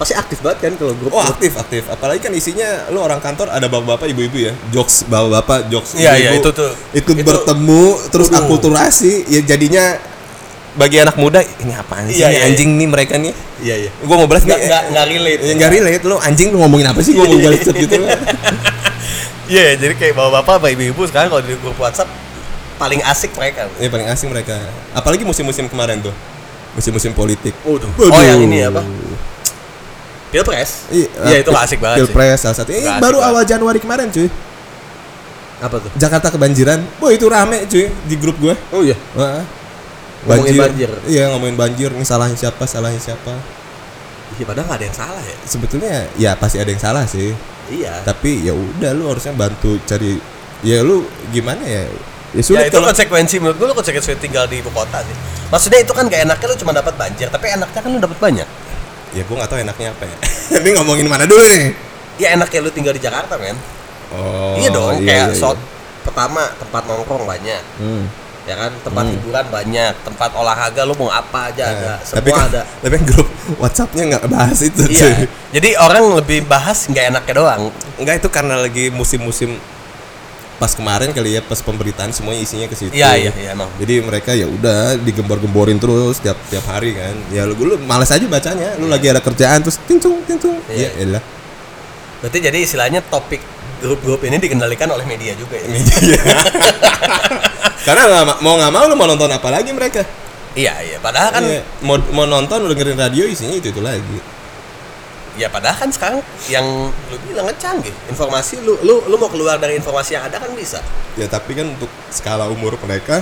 Pasti aktif banget kan kalau grup.
oh aktif aktif apalagi kan isinya lu orang kantor ada bapak-bapak ibu-ibu ya jokes bapak-bapak jokes
Iya iya
ibu-ibu.
itu tuh.
itu, bertemu terus
Waduh.
akulturasi ya jadinya bagi anak muda ini apaan sih
Iya,
ini
iya,
anjing nih mereka nih
Iya iya.
gue mau balas
Nggak
nih
nggak nggak relate.
ya nggak relate lu anjing lu ngomongin apa sih gue mau balas chat gitu
Iya iya, jadi kayak bapak-bapak, sama ibu-ibu sekarang kalau di grup WhatsApp paling asik mereka.
ya paling asing mereka apalagi musim-musim kemarin tuh musim-musim politik
Waduh. Oh
Waduh.
yang ini apa? Pilpres. Iya itu asik banget sih.
Pilpres salah satu. Eh,
Nggak asik
baru
banget.
awal Januari kemarin cuy.
Apa tuh?
Jakarta kebanjiran. Wah itu rame cuy di grup gua.
Oh iya.
Heeh.
Ngomongin banjir.
Iya ngomongin banjir nih salahnya siapa, salahnya siapa.
Iya padahal nggak ada yang salah ya.
Sebetulnya ya pasti ada yang salah sih.
Iya.
Tapi ya udah lu harusnya bantu cari ya lu gimana ya?
Ya
Ya sulit
itu
kalau
konsekuensi menurut gue lo konsekuensi tinggal di ibu kota sih. Maksudnya itu kan gak enaknya lo cuma dapat banjir, tapi enaknya kan lo dapat banyak.
ya gua nggak tahu enaknya apa ya. Ini ngomongin mana dulu nih?
Ya enaknya lo tinggal di Jakarta men.
Oh.
iya dong,
iya,
kayak
iya,
shot pertama tempat nongkrong banyak,
hmm.
ya kan tempat
Hmm.
hiburan banyak, tempat olahraga lo mau apa aja ada,
Nah,
Ya, semua
tapi kan,
ada.
tapi kan grup WhatsAppnya nggak bahas itu cuy.
Iya. Jadi orang lebih bahas nggak enaknya doang.
Enggak itu karena lagi musim-musim pas kemarin kali ya pas pemberitaan semuanya isinya ke situ.
Iya iya iya emang.
Jadi mereka ya udah digembor-gemborin terus tiap tiap hari kan. Ya lu, lu males aja bacanya. Lu lagi ada kerjaan terus tincung tincung.
Iya.
Ya elah.
Berarti jadi istilahnya topik grup-grup ini dikendalikan oleh media juga ya.
Karena nggak ma- mau nggak mau lu mau nonton apa lagi mereka?
iya iya. Padahal kan
Iya. mau mau nonton lu dengerin radio isinya itu itu lagi.
ya padahal kan sekarang yang lu bilang kan canggih informasi lu lu lu mau keluar dari informasi yang ada kan bisa
Ya tapi kan untuk skala umur mereka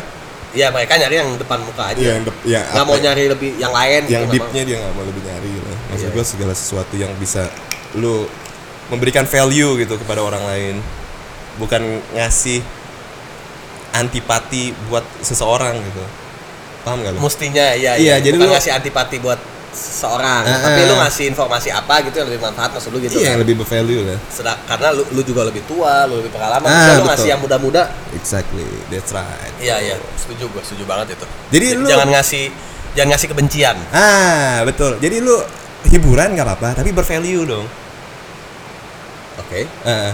ya mereka nyari yang depan muka aja
ya yang dep- ya
nggak
apa
mau
ya?
nyari lebih yang lain
yang
gitu, nggak
deepnya dia nggak mau lebih nyari gitu. Maksud
Iya.
gue segala sesuatu yang bisa lu memberikan value gitu kepada orang lain, bukan ngasih antipati buat seseorang gitu. Paham gak lu?
mau. mestinya ya
Iya,
iya
jadi
bukan
lu-
ngasih antipati buat seorang
Ah,
tapi
ah.
lu ngasih informasi apa gitu yang lebih manfaat maksud lu gitu
Iya yang
kan?
lebih value lah.
Sedang- karena lu, lu juga lebih tua lu lebih pengalaman
Ah,
Misalnya lu
betul.
ngasih yang muda-muda
Exactly, that's right.
iya iya setuju gua setuju banget itu
Jadi lu-
jangan ngasih jangan ngasih kebencian
Ah betul. Jadi lu hiburan nggak apa-apa, tapi bervalue dong.
oke
Ah,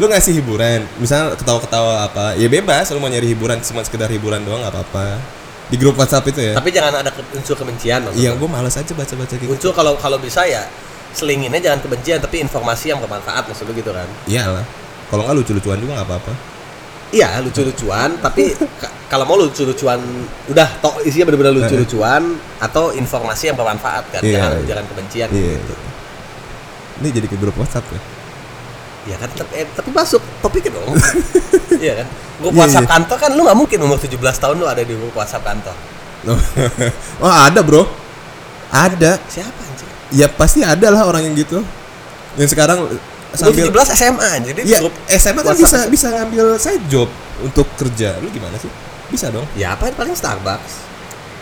lu ngasih hiburan, misal ketawa-ketawa apa, ya bebas. Lu mau nyari hiburan cuma sekedar hiburan doang nggak apa-apa. Di grup WhatsApp itu ya.
tapi jangan ada ke- unsur kebencian maksud
Iya,
gua.
gue males aja baca-baca kayak gitu.
muncul kalau kalau bisa ya selinginnya jangan kebencian tapi informasi yang bermanfaat maksud lu gitu kan
Iyalah. Kalau nggak lucu-lucuan juga nggak apa-apa.
iya lucu-lucuan tapi ka- kalau mau lucu-lucuan udah tok isinya benar-benar lucu-lucuan atau informasi yang bermanfaat kan
Iya,
jangan
iya.
jangan kebencian
Iya. Ini jadi ke grup WhatsApp ya.
ya kan tapi, eh, tapi masuk topiknya dong iya kan grup
Iya,
WhatsApp
iya.
kantor kan lu nggak mungkin umur 17 tahun lu ada di grup WhatsApp kantor
oh ada bro. Ada.
siapa anjir
Ya pasti ada lah orang yang gitu. Yang sekarang
Sambil... Iya. 17
sambil
SMA jadi
ya,
grup
SMA kan bisa
WhatsApp.
bisa ngambil side job untuk kerja. Lu gimana sih? Bisa dong.
ya apa paling Starbucks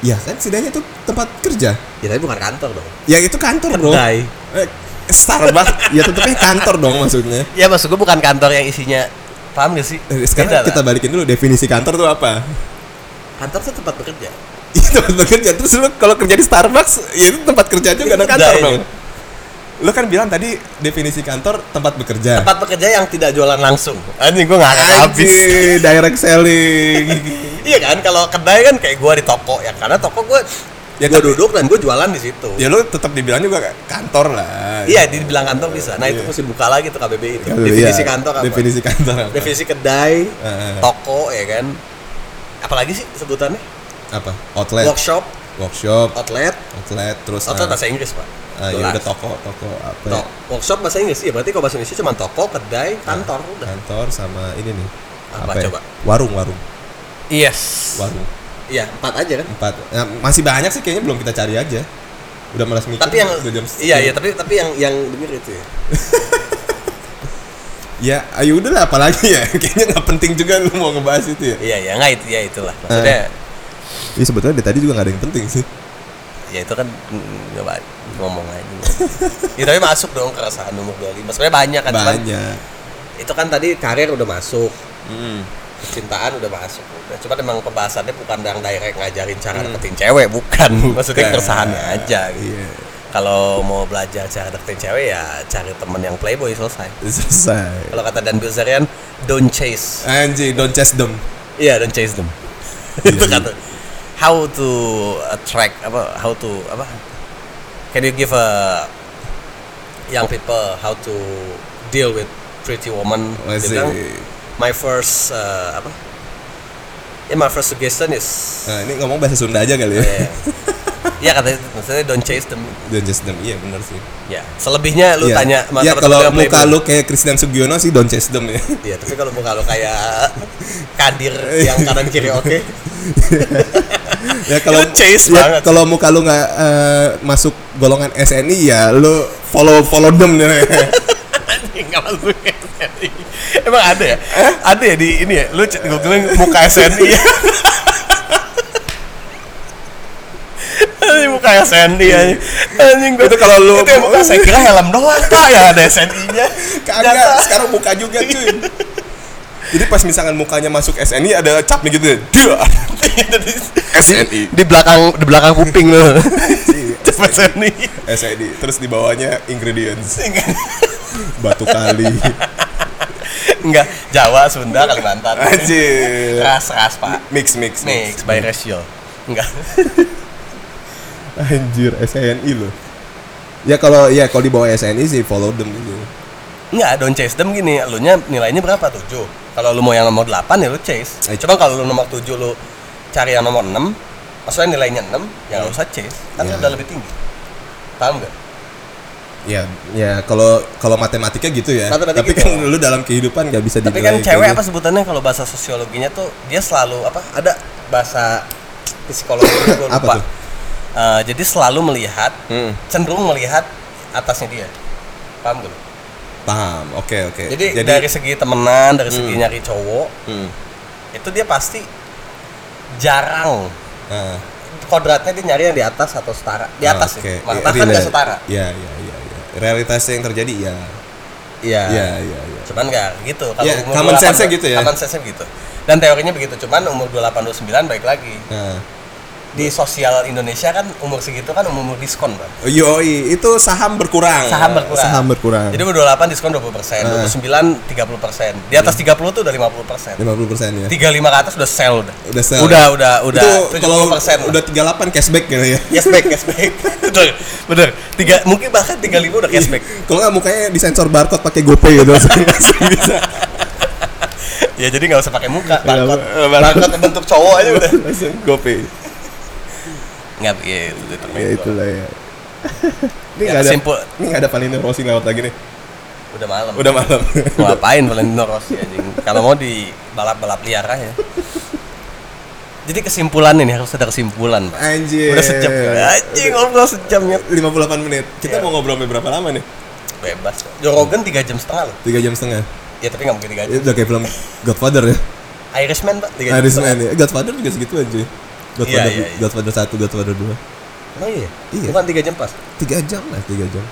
Ya kan setidaknya itu tempat kerja.
ya tapi bukan kantor dong
Ya itu kantor bro.
Kedai.
Eh, Starbucks ya tetepnya kantor dong maksudnya.
ya maksud gua bukan kantor yang isinya paham gak sih
Eh,
Beda
Sekarang
lah.
kita balikin dulu definisi kantor tuh apa?
kantor tuh tempat bekerja
Iya tempat bekerja terus lu kalau kerja di Starbucks ya itu tempat kerja juga ada kantor
Iya.
dong. Lu kan bilang tadi definisi kantor tempat bekerja.
tempat bekerja yang tidak jualan langsung anjing gue nggak akan habis
Anjir, direct selling.
iya kan kalau kedai kan kayak gue di toko ya karena toko gue
Ya,
gue
tapi-
duduk dan gue jualan di situ
ya lu tetap dibilang juga kayak kantor lah.
iya dibilang kantor bisa nah itu
Iya.
mesti buka lagi tuh KBBI itu
Iya, Eh,
definisi kantor apa
Definisi kantor apa?
definisi kedai
Eh.
toko ya kan apalagi sih sebutannya
apa outlet
workshop
workshop
outlet
outlet terus
outlet
ah,
bahasa Inggris pak
ah, ya
Jelas.
udah toko toko apa ya, Eh.
Tok- workshop bahasa Inggris ya berarti kalau bahasa Indonesia cuma toko kedai kantor udah
kantor sama ini nih
apa,
ya?
coba
warung warung
yes
warung
iya empat aja kan
empat Nah, masih banyak sih kayaknya belum kita cari aja udah malas mikir
tapi yang
udah jam
iya iya tapi tapi yang yang bener itu ya
ya ayo udahlah apalagi ya kayaknya nggak penting juga lu mau ngebahas itu ya
iya iya nggak itu ya itulah maksudnya
Ini sebetulnya dari tadi juga nggak ada yang penting sih
ya itu kan mm, coba ngomong aja ya, tapi masuk dong keresahan umur 25 sebenarnya banyak kan cuman
banyak
itu kan tadi karir udah masuk Hmm. percintaan udah masuk udah cuma emang pembahasannya bukan yang direct ngajarin cara deketin cewek Hmm. bukan maksudnya
Bukan.
keresahannya aja gitu.
iya
kalau mau belajar cara deketin cewek ya cari temen yang playboy selesai
selesai
kalau kata Dan Bilzerian don't chase
anjing don't chase them
iya don't chase them itu
Iya.
kata how to attract apa how to apa can you give a young
Oh.
people how to deal with pretty woman Dia
Masih.
bilang, my first uh, apa yeah, my first suggestion is
Nah, ini ngomong bahasa Sunda aja kali ya.
eh, ya katanya maksudnya don't chase them
Don't chase them. Iya, benar sih.
ya selebihnya lu
Iya.
tanya sama
Iya,
teman-teman
kalau
yang
muka
playboy.
lu kayak Christian Sugiono sih don't chase them ya.
Iya, tapi kalau muka lu kayak kadir yang
Iya.
kanan kiri oke
ya kalau
Don't chase
ya,
banget.
kalau muka lu nggak eh, masuk golongan SNI ya lu follow follow them ya.
Anjing, nggak masuk SNI. Emang ada ya? Ada ya di ini ya? Lu cek googling muka SNI ya? Anjing, muka SNI anjing. Iya, Anjing gua-
Itu kalau lu- Oh, iya.
Itu yang muka saya kira helm doang Pak yang ada SNI-nya. Ternyata-
Kagak, sekarang muka juga cuy. Jadi pas misalkan mukanya masuk SNI ada cap nih gitu. Dia SNI.
Di belakang di belakang kuping lu. Coba SNI.
SNI terus di bawahnya ingredients batu kali.
Enggak, Jawa, Sunda, Kalimantan.
Anjir.
Ras-ras, Pak.
Mix mix
Mix by ratio. Enggak.
Anjir, SNI loh. Ya kalau ya kalau di bawah SNI sih follow them gitu.
Enggak, don't chase them gini, lu nya nilainya berapa? 7. Kalau lu mau yang nomor 8 ya lu chase.
Eh,
Coba kalau lu nomor 7 lu cari yang nomor 6, maksudnya nilainya 6, ya nggak usah chase. Kan
Ya.
udah lebih tinggi. Paham nggak?
Ya, ya kalau kalau matematiknya gitu ya.
Matematik
Tapi
gitu.
kan lu dalam kehidupan nggak bisa
Tapi
dinilai.
kan
kayak
cewek
gitu.
apa sebutannya kalau bahasa sosiologinya tuh dia selalu apa? Ada bahasa psikologi gue
Apa
lupa.
tuh?
Eh, jadi selalu melihat,
Hmm.
cenderung melihat atasnya dia. Paham gak? lu?
Paham. Oke, oke.
Jadi, dari segi temenan, dari segi nyari cowok,
Hmm.
itu dia pasti jarang
Nah,
kodratnya dia nyari yang di atas atau setara di
ah,
atas ya?
oke.
sih Mah- bahkan
Relate.
nggak setara
Iya, iya, iya, iya. Realitasnya yang terjadi ya.
iya
Iya, iya, iya.
cuman nggak gitu
Iya,
umur
common
28,
sense-nya gitu ya.
common sense-nya begitu dan teorinya begitu cuman umur 28 29 baik lagi
Nah,
di sosial Indonesia kan umur segitu kan umur, -umur diskon Bang.
yoi, itu saham berkurang.
Saham berkurang.
Saham berkurang.
jadi umur 28 diskon 20
Ah.
persen 29 30 persen di atas
Iya.
30 tuh udah 50 persen
50% ya.
35 ke atas udah sell udah
Udah sell.
udah udah udah
itu kalau
70% lah.
udah 38 cashback gitu ya.
cashback cashback betul bener tiga mungkin bahkan 35 udah cashback
Kalau nggak mukanya disensor barcode pakai GoPay gitu langsung, langsung bisa.
ya jadi nggak usah pakai muka
Iya,
barcode Eh,
Pak.
barcode bentuk cowok aja udah
langsung GoPay.
nggak ya itu itu,
Ya itulah ya. ini
Ya,
nggak ada
simpul.
ini nggak ada Valentino Rossi lewat lagi nih.
udah malam
Udah malam.
mau ngapain Valentino Rossi anjing kalau mau di balap balap liar aja jadi kesimpulan ini harus ada kesimpulan pak
Anjir.
udah sejam anjing ngobrol sejamnya
58 menit. Kita
Iya.
mau ngobrol berapa lama nih?
bebas Joe Rogan tiga jam setengah loh
3 jam setengah.
ya tapi nggak mungkin tiga jam
Itu udah kayak film Godfather ya.
Irishman pak tiga jam
Irishman
setengah.
ya. Godfather juga segitu aja. Godfather,
Iya, iya, iya.
Godfather 1, Godfather 2.
oh iya
Iya.
bukan tiga jam pas
3 jam lah, 3 jam.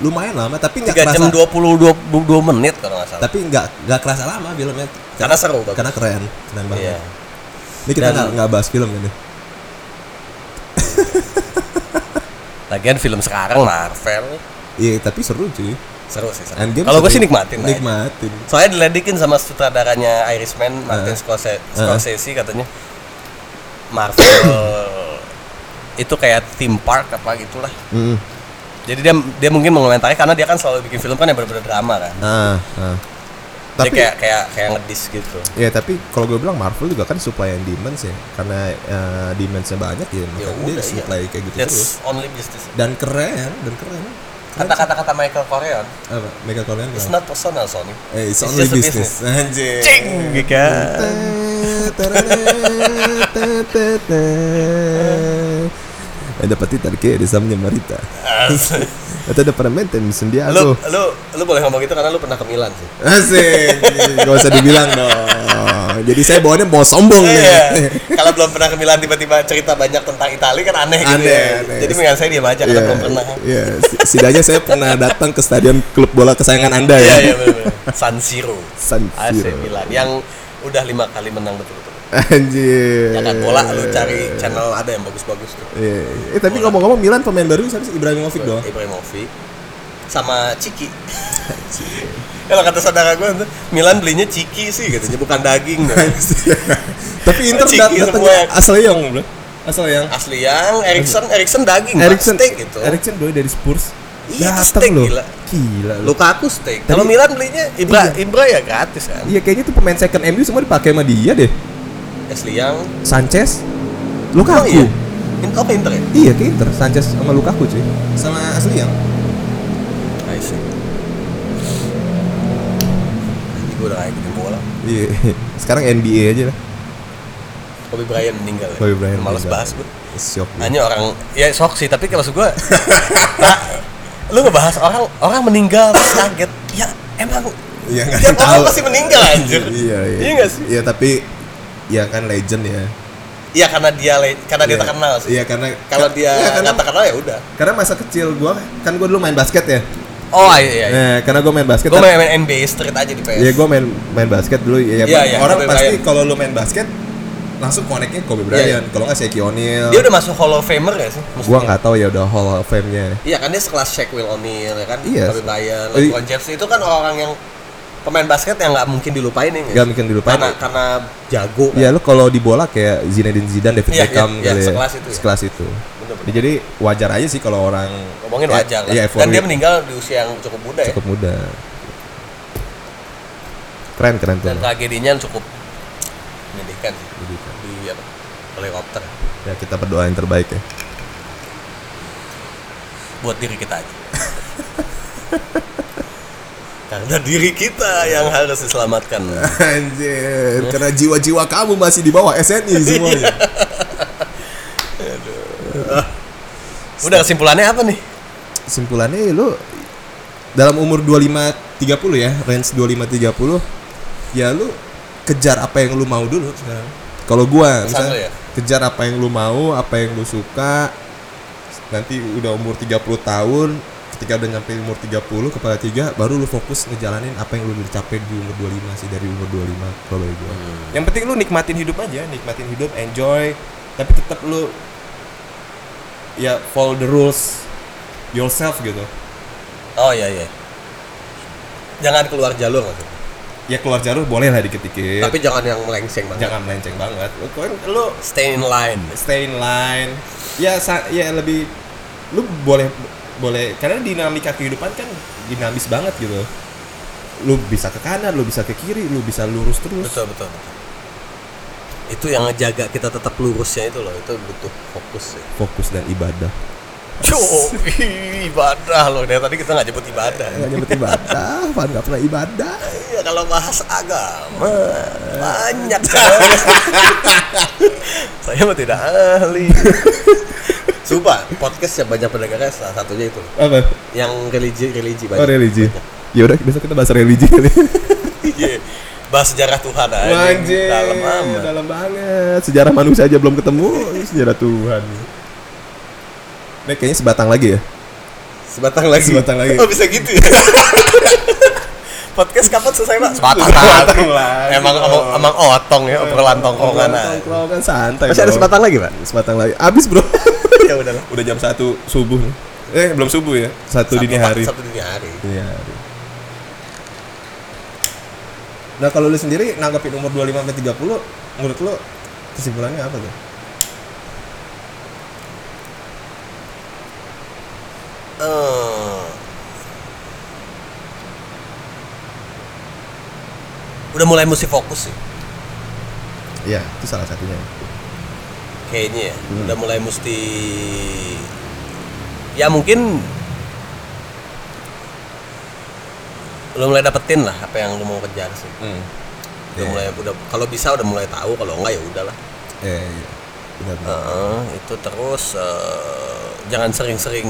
Lumayan lama tapi nggak
tiga
kerasa.
jam dua puluh dua dua menit kalau nggak salah
Tapi nggak nggak kerasa lama filmnya.
karena seru Bang.
Karena keren, keren banget.
iya
Ini kita
Dan-
nggak nggak bahas film kan nih.
lagian film sekarang Marvel
Iya, tapi seru cuy.
seru sih seru.
Endgame
kalau gue
seru.
sih nikmatin lah ya.
Nikmatin.
Soalnya diledikin sama sutradaranya Irishman Martin
Ah.
Scorsese,
Ah.
Scorsese katanya Marvel itu kayak theme park apa gitulah.
Mm.
Jadi dia dia mungkin mengomentari karena dia kan selalu bikin film kan yang benar-benar drama kan.
Ah, ah.
Dia
Nah, Tapi-
kayak kayak kayak ngedis gitu.
Ya tapi kalau gue bilang Marvel juga kan supply and demand ya karena eh, demand-nya banyak ya maka dia
udah, iya.
supply kayak gitu
That's
terus
only business.
dan keren dan keren
Kata-kata kata Michael Corleone,
apa Mega Korean
it's not
kenapa?
personal Sony.
Eh, it's
it's
only
just a
business. Anjir.
Cing, gitu.
È da partita perché risam marita. Atau ada permenten
lu
sendiago.
lu lu boleh ngomong gitu karena lu pernah ke Milan sih.
Asik. Gak usah dibilang dong. Jadi saya bawaannya mau sombong
Iya.
nih.
Kalau belum pernah ke Milan tiba-tiba cerita banyak tentang Italia kan aneh, gitu.
Aneh,
Ya.
aneh.
Jadi mendingan saya diam aja karena
Iya,
belum pernah.
iya. Si- Setidaknya saya pernah datang ke stadion klub bola kesayangan Anda
Iya
ya.
iya bener-bener. San Siro.
San
AC
Siro.
Milan yang udah lima kali menang betul-betul.
Anjir.
Ya kan bola lu cari channel ada yang bagus-bagus tuh.
Iya, iya. Eh tapi ngomong-ngomong Milan pemain baru siapa sih? Ibrahimovic doang.
Ibrahimovic sama Ciki. Kalau kata saudara gue Milan belinya Ciki sih katanya bukan daging.
Tapi Inter
Ciki
dat- datang
semua. ya.
asal yang bro. Asal yang
Asli yang Erikson Erikson daging. Pak.
Eriksen
steak gitu.
Eriksen doi dari Spurs.
Iya, itu
Datang
steak,
loh.
gila.
Gila loh.
Lukaku steak.
Tapi-
Kalau Milan belinya Ibra Ibra ya gratis kan.
Iya kayaknya tuh pemain second MU semua dipakai sama dia deh.
Asli yang
Sanchez,
Oh iya.
Lukaku.
Inter apa Inter ya?
Iya ke Inter, Sanchez sama Lukaku cuy. Sama asli yang.
I see. Ini gue udah kayak gini bola.
Iya. Sekarang NBA aja lah.
Kobe Bryant meninggal. ya?
Kobe Bryant
Males
meninggal.
bahas gue.
Syok. ya.
Hanya orang ya sok sih, tapi kalau maksud gue nah, lu ngebahas orang orang meninggal terus kaget. Ya emang
Iya nggak
tiap
tahu.
orang pasti meninggal anjir.
Iya iya.
Iya nggak sih?
Iya tapi ya kan legend ya.
Iya karena dia le- karena dia
Iya.
terkenal sih.
Iya karena
Kalau dia
Iya, karena,
nggak terkenal ya udah.
karena masa kecil gua kan gua dulu main basket ya.
Oh iya iya. iya.
Nah, karena gua main basket.
Gue
kan-
main, main NBA street aja di PS.
Iya gue main main basket dulu
Iya,
ya. Bang.
iya,
orang
Kobe
pasti
Bryant.
kalau lu main basket langsung koneknya Kobe Bryant.
Iya, iya.
Kalau nggak Shaquille O'Neal.
Dia udah masuk Hall of Famer ya sih?
Gue
maksudnya?
nggak tahu ya udah Hall of Fame-nya.
Iya kan dia sekelas Shaquille O'Neal ya kan,
Iya.
Kobe Bryant,
Eh,
LeBron James itu kan orang yang pemain basket yang nggak mungkin dilupain ya. nggak
Gak
sih?
mungkin dilupain.
Karena karena jago. Kan?
Iya lu kalau di bola kayak Zinedine Zidane, David
Iya, iya,
Beckham
iya,
kali ya.
sekelas itu ya.
Sekelas itu.
Bener-bener.
Ya, jadi wajar aja sih kalau orang
Ngomongin
ya,
wajar kan.
Iya,
Dan dia
euforia.
meninggal di usia yang cukup muda ya.
cukup muda. Keren keren tuh.
Dan tragedinya cukup menyedihkan sih. Di apa? Helikopter
Ya kita berdoa yang terbaik ya.
buat diri kita aja. Karena diri kita yang harus diselamatkan.
Anjir, karena jiwa-jiwa kamu masih di bawah SNI semuanya.
Udah kesimpulannya apa nih?
simpulannya ya lu dalam umur 25 30 ya, range 25 30 ya lu kejar apa yang lu mau dulu sekarang. Kalau
Pesan
gua
lu
misalnya
ya?
kejar apa yang lu mau, apa yang lu suka. Nanti udah umur 30 tahun, ketika udah nyampe umur 30 kepala tiga baru lu fokus ngejalanin apa yang lu udah capai di umur 25 sih dari umur 25 kalau dari gua.
Hmm.
Yang penting lu nikmatin hidup aja, nikmatin hidup, enjoy, tapi tetap lu ya follow the rules yourself gitu.
Oh iya iya. Jangan keluar jalur maksudnya.
ya keluar jalur boleh lah dikit-dikit
Tapi jangan yang melengseng banget.
Iya. jangan melenceng banget lu kan lu
Stay in line.
stay in line ya sa- ya lebih lu boleh boleh karena dinamika kehidupan kan dinamis banget gitu lu bisa ke kanan lu bisa ke kiri lu bisa lurus terus
Betul betul. betul. Itu yang ngejaga kita tetap lurusnya itu loh. Itu butuh fokus sih.
fokus dan ibadah
Cuy, ibadah loh. Dari tadi kita nggak nyebut ibadah.
nggak nyebut ibadah Van nggak pernah ibadah
Iya kalau bahas agama banyak. Saya Saya mah tidak ahli. Coba podcast yang banyak pendengarnya salah satunya itu.
apa
Yang religi religi banyak.
oh religi ya udah besok kita bahas religi kali
Iya. Bahas sejarah Tuhan aja.
Anjir,
Dalam amat.
dalam banget. Sejarah manusia aja belum ketemu, ini sejarah Tuhan. Nek kayaknya sebatang lagi ya.
Sebatang lagi.
Sebatang lagi.
Oh bisa gitu ya. Podcast kapan selesai pak? Sebatang,
Sebatang lagi.
Emang emang, emang otong ya obrolan tongkrongan. Nah. aja.
Obrolan Tongkrongan santai.
Masih ada
bro.
sebatang lagi pak?
Sebatang lagi. Abis bro.
ya udahlah.
Udah jam satu subuh nih. Eh belum subuh ya? Satu dini
Sabtu-
hari.
Sabtu dini hari.
Dini hari. Nah kalau lu sendiri nanggapin umur 25 sampai 30 menurut lu kesimpulannya apa tuh?
Eh. udah mulai mesti fokus sih
Iya, itu salah satunya.
kayaknya ya.
Hmm.
udah mulai mesti ya mungkin lu mulai dapetin lah apa yang lu mau kejar sih udah
Iya.
mulai udah kalau bisa udah mulai tahu kalau enggak ya udahlah
Eh, iya. Benar, benar.
Heeh, itu terus eh, jangan sering-sering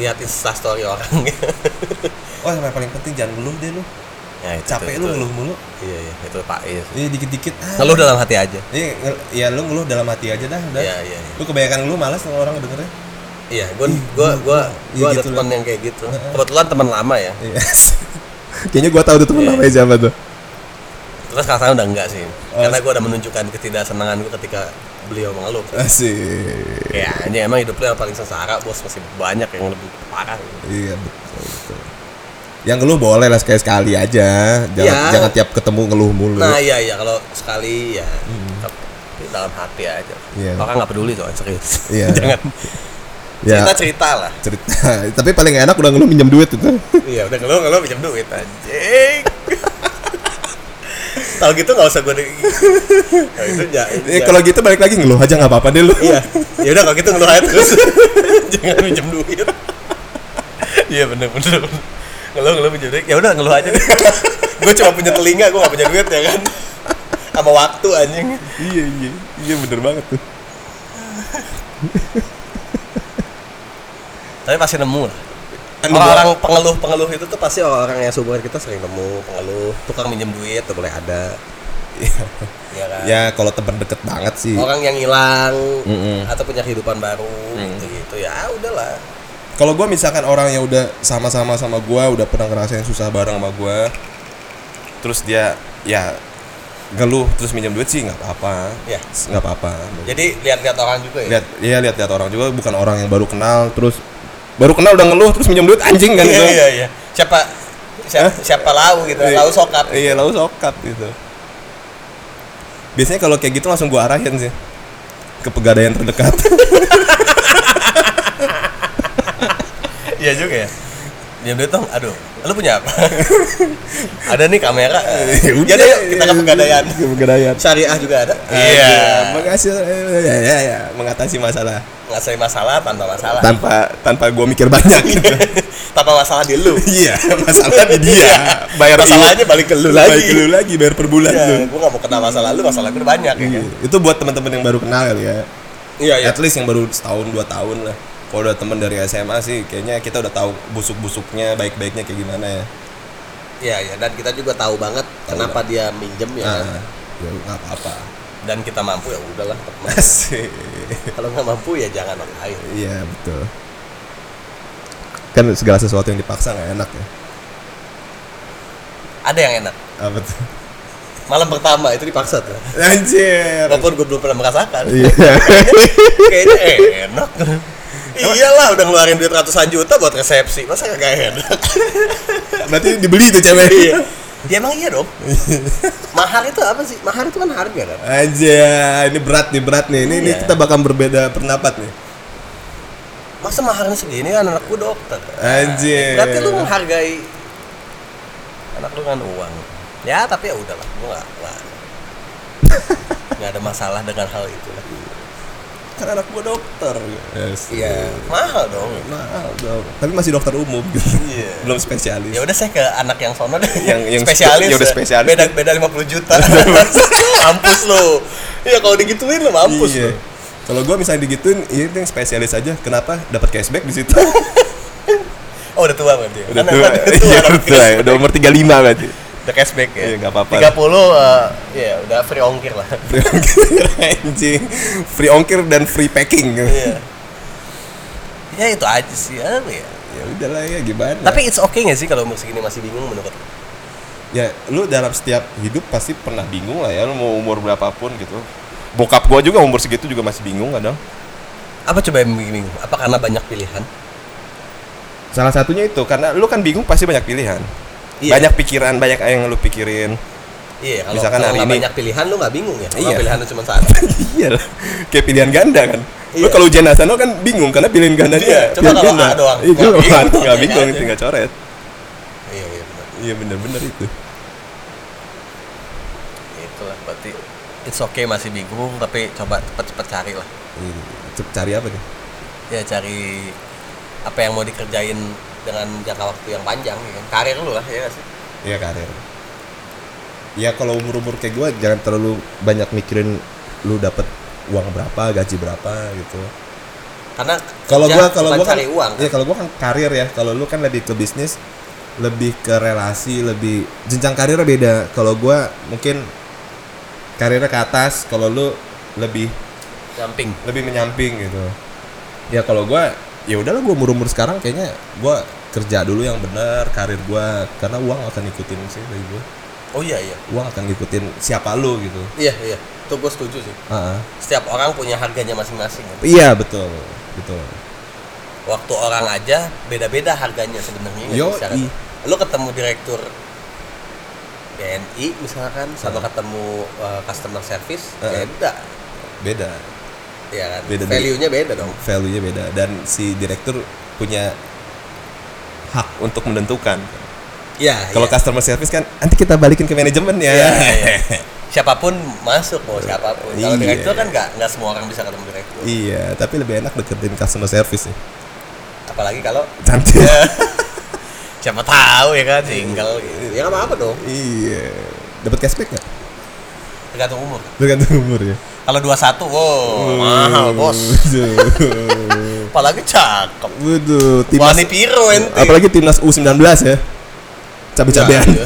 lihat instastory orang
Oh, yang paling penting jangan ngeluh deh lu.
ya, itu,
Capek
itu,
lu
itu.
ngeluh mulu.
iya iya itu pak iya sih.
Iya dikit-dikit. Ah.
ngeluh dalam hati aja
Iya, ngel- ya lu ngeluh dalam hati aja dah, udah.
iya iya iya.
Lu kebanyakan ngeluh malas sama orang ya. dengernya.
iya gue gue gue
Iya,
ada
gitu
teman
lah.
yang kayak gitu kebetulan teman lama ya
Iya. Kayaknya gua tahu tuh temen
Iya.
namanya siapa tuh.
terus kalau sekarang udah enggak sih
Oh,
karena gue udah menunjukkan ketidaksenangan gue ketika beliau mengeluh
Asik.
ya ini emang hidup lu yang paling sengsara bos masih banyak yang lebih parah
Iya betul. betul. Yang ngeluh boleh lah sekali sekali aja. Jangan
Iya.
jangan tiap ketemu ngeluh mulu.
Nah iya iya kalau sekali ya tapi dalam hati aja.
Iya.
Orang nggak peduli soalnya serius.
Iya.
Jangan
ya
cerita cerita lah.
cerita. Tapi paling enak udah ngeluh minjem duit itu.
iya udah ngeluh ngeluh pinjam duit anjing. Kalau gitu nggak usah gue Kalau itu ya,
Eh, kalau gitu balik lagi ngeluh aja nggak apa-apa deh lu.
iya ya udah kalau gitu ngeluh aja terus jangan pinjam duit. Iya bener bener. bener. Ngeluh ngeluh pinjam duit ya udah ngeluh aja. gue cuma punya telinga gue nggak punya duit ya kan. Sama waktu anjing.
iya iya iya bener banget tuh.
Tapi pasti nemu lah.
Anu
Orang-orang pengeluh-pengeluh itu tuh pasti orang-orang yang seumuran kita sering nemu pengeluh, tukang minjem duit tuh boleh ada. Iya kan?
Ya kalau temen deket banget sih.
Orang yang hilang
Mm-mm.
atau punya kehidupan baru gitu-gitu ya ah, udahlah.
Kalau gua misalkan orang yang udah sama-sama sama gua udah pernah ngerasain susah bareng sama gua terus dia ya ngeluh terus minjem duit sih nggak apa-apa.
Ya.
Nggak apa-apa.
Jadi lihat-lihat orang juga ya.
lihat iya lihat lihat orang juga bukan orang yang baru kenal terus baru kenal udah ngeluh terus minjem duit anjing kan
Iya
gitu
iya iya. Siapa siapa, siapa lau gitu,
Iya.
lau sokap.
iya lalu sokap gitu biasanya kalau kayak gitu langsung gua arahin sih ke pegadaian terdekat
Iya juga ya. Minjem duit dong, aduh. Lu punya apa? ada nih kamera. Ya udah, Iya. yuk, kita ke pegadaian.
ke pegadaian
Syariah juga ada.
Aduh, makasih eh, ya, ya, ya, mengatasi masalah
Nggak sering masalah tanpa masalah.
tanpa tanpa gua mikir banyak gitu
tanpa masalah di lu
iya masalah di dia bayar
Iya. masalahnya balik ke lu
balik
lagi
ke lu lagi bayar per bulan
ya,
lu
gue gak mau kena masalah lu masalah gue udah banyak ya
Iya.
kan
itu buat teman-teman yang baru kenal kali ya
iya
at least yang baru setahun dua tahun lah kalau udah temen dari SMA sih kayaknya kita udah tahu busuk-busuknya baik-baiknya kayak gimana ya
iya iya dan kita juga tahu banget kenapa dia minjem ya kan.
nah ya nggak apa-apa
dan kita mampu ya udahlah teman.
Asik.
kalau nggak mampu ya jangan orang lain
iya betul kan segala sesuatu yang dipaksa nggak enak ya
ada yang enak
apa tuh
malam pertama itu dipaksa tuh
anjir
walaupun gue belum pernah merasakan
iya
kayaknya enak iyalah udah ngeluarin duit ratusan juta buat resepsi masa gak enak
berarti dibeli tuh cewek
iya ya emang iya dong mahar itu apa sih mahar itu kan harga kan
Anjir, ini berat nih, berat nih. Ini, ini
Iya.
kita bakal berbeda pendapat nih.
masa maharnya segini kan anak gue dokter
Anjir.
berarti lu menghargai anak lu kan uang ya tapi ya udahlah gue nggak nggak nggak ada masalah dengan hal itu lah
kan anak gua dokter. Yes.
iya mahal dong
Mahal dong. Tapi masih dokter umum gitu.
iya
Belum spesialis.
ya udah saya ke anak yang sono deh
Yang- yang
spesialis
ya udah spesialis.
beda beda 50 juta mampus lu iya kalau digituin lu mampus
iya.
lu
Kalau gua misalnya digituin, ya itu yang spesialis aja. Kenapa dapat cashback di situ?
oh udah tua berarti ya?
udah
Anak-
tua.
anak
Iya,
anak
udah tua. Udah umur 35 berarti.
udah cashback ya
Iya, nggak apa-apa.
30 eh, ya udah free ongkir lah
Free ongkir anjing. Free ongkir dan free packing.
iya ya itu aja sih apa ya
ya udahlah ya gimana.
Tapi it's okay gak sih kalau umur segini masih bingung menurut lu?
ya lu dalam setiap hidup pasti pernah bingung lah ya lu mau umur berapapun gitu. Bokap gua juga umur segitu juga masih bingung kadang.
Apa coba yang bikin bingung? Apa karena banyak pilihan?
Salah satunya itu karena lu kan bingung pasti banyak pilihan.
Iya.
Banyak pikiran, banyak yang lu pikirin.
Iya, kalau,
Misalkan
kalau
hari
nggak
ini-
banyak pilihan lu nggak bingung ya? Kalau
Iya.
pilihan lu cuma satu.
Iya lah. Kayak pilihan ganda kan. Lo
Iya.
kalau ujian nasional kan bingung karena pilihan gandanya.
Iya, cuma
pilihan
kalau A doang.
Iya,
Nggak
kalau A
bingung.
nggak bingung,
Iya.
tinggal coret.
iya, iya. gitu.
Iya bener-bener itu.
Itulah berarti it's okay masih bingung tapi coba cepet-cepet cari lah.
Ini,
Cep- Cari apa nih?
Ya cari apa yang mau dikerjain dengan jangka waktu yang panjang ya kan. Karir lu lah ya nggak sih.
Iya karir. Ya kalau umur-umur kayak gue jangan terlalu banyak mikirin lu dapat uang berapa, gaji berapa gitu.
Karena
Kalau
kerja
gua kalau
bukan
gua kan,
cari uang kan.
Iya, kalau gua kan karir ya. Kalau lu kan lebih ke bisnis, lebih ke relasi, lebih jenjang karir beda. Kalau gua mungkin karirnya ke atas, kalau lu lebih
Jumping.
lebih menyamping gitu ya kalau gua ya udahlah gua umur umur sekarang kayaknya gua kerja dulu yang benar karir gua karena uang akan ngikutin sih dari gua
Oh iya iya.
uang akan ngikutin siapa lu gitu
Iya iya. Itu gue setuju sih.
Ah, ah.
Setiap orang punya harganya masing-masing. kan.
iya betul betul
Waktu orang aja beda-beda harganya sebenarnya. nggak sih,
Yoi.
secara-
iya.
Lu ketemu direktur BNI misalkan sama ketemu uh, customer service
Ah.
beda.
beda
Ya kan.
Beda dari-
Value-nya beda dong.
value nya beda dan si direktur punya
Hak untuk menentukan.
Iya.
kalau
iya.
customer service kan nanti kita balikin ke manajemen ya
Iya, iya. Siapapun masuk mau siapapun. Kalau
Iya.
direktur kan nggak nggak semua orang bisa ketemu direktur.
iya tapi lebih enak deketin customer service ya
Apalagi kalau
cantik
Iya. siapa tahu ya kan single gitu. Ya nggak apa-apa dong.
iya dapat cashback nggak
Tergantung umur.
tergantung umur ya
Kalau 21, wow,
Hmm.
mahal bos.
Waduh.
Apalagi cakep.
Waduh, timnas
Wani Piro ente.
apalagi timnas U19 ya. Cabe-cabean.
Iya.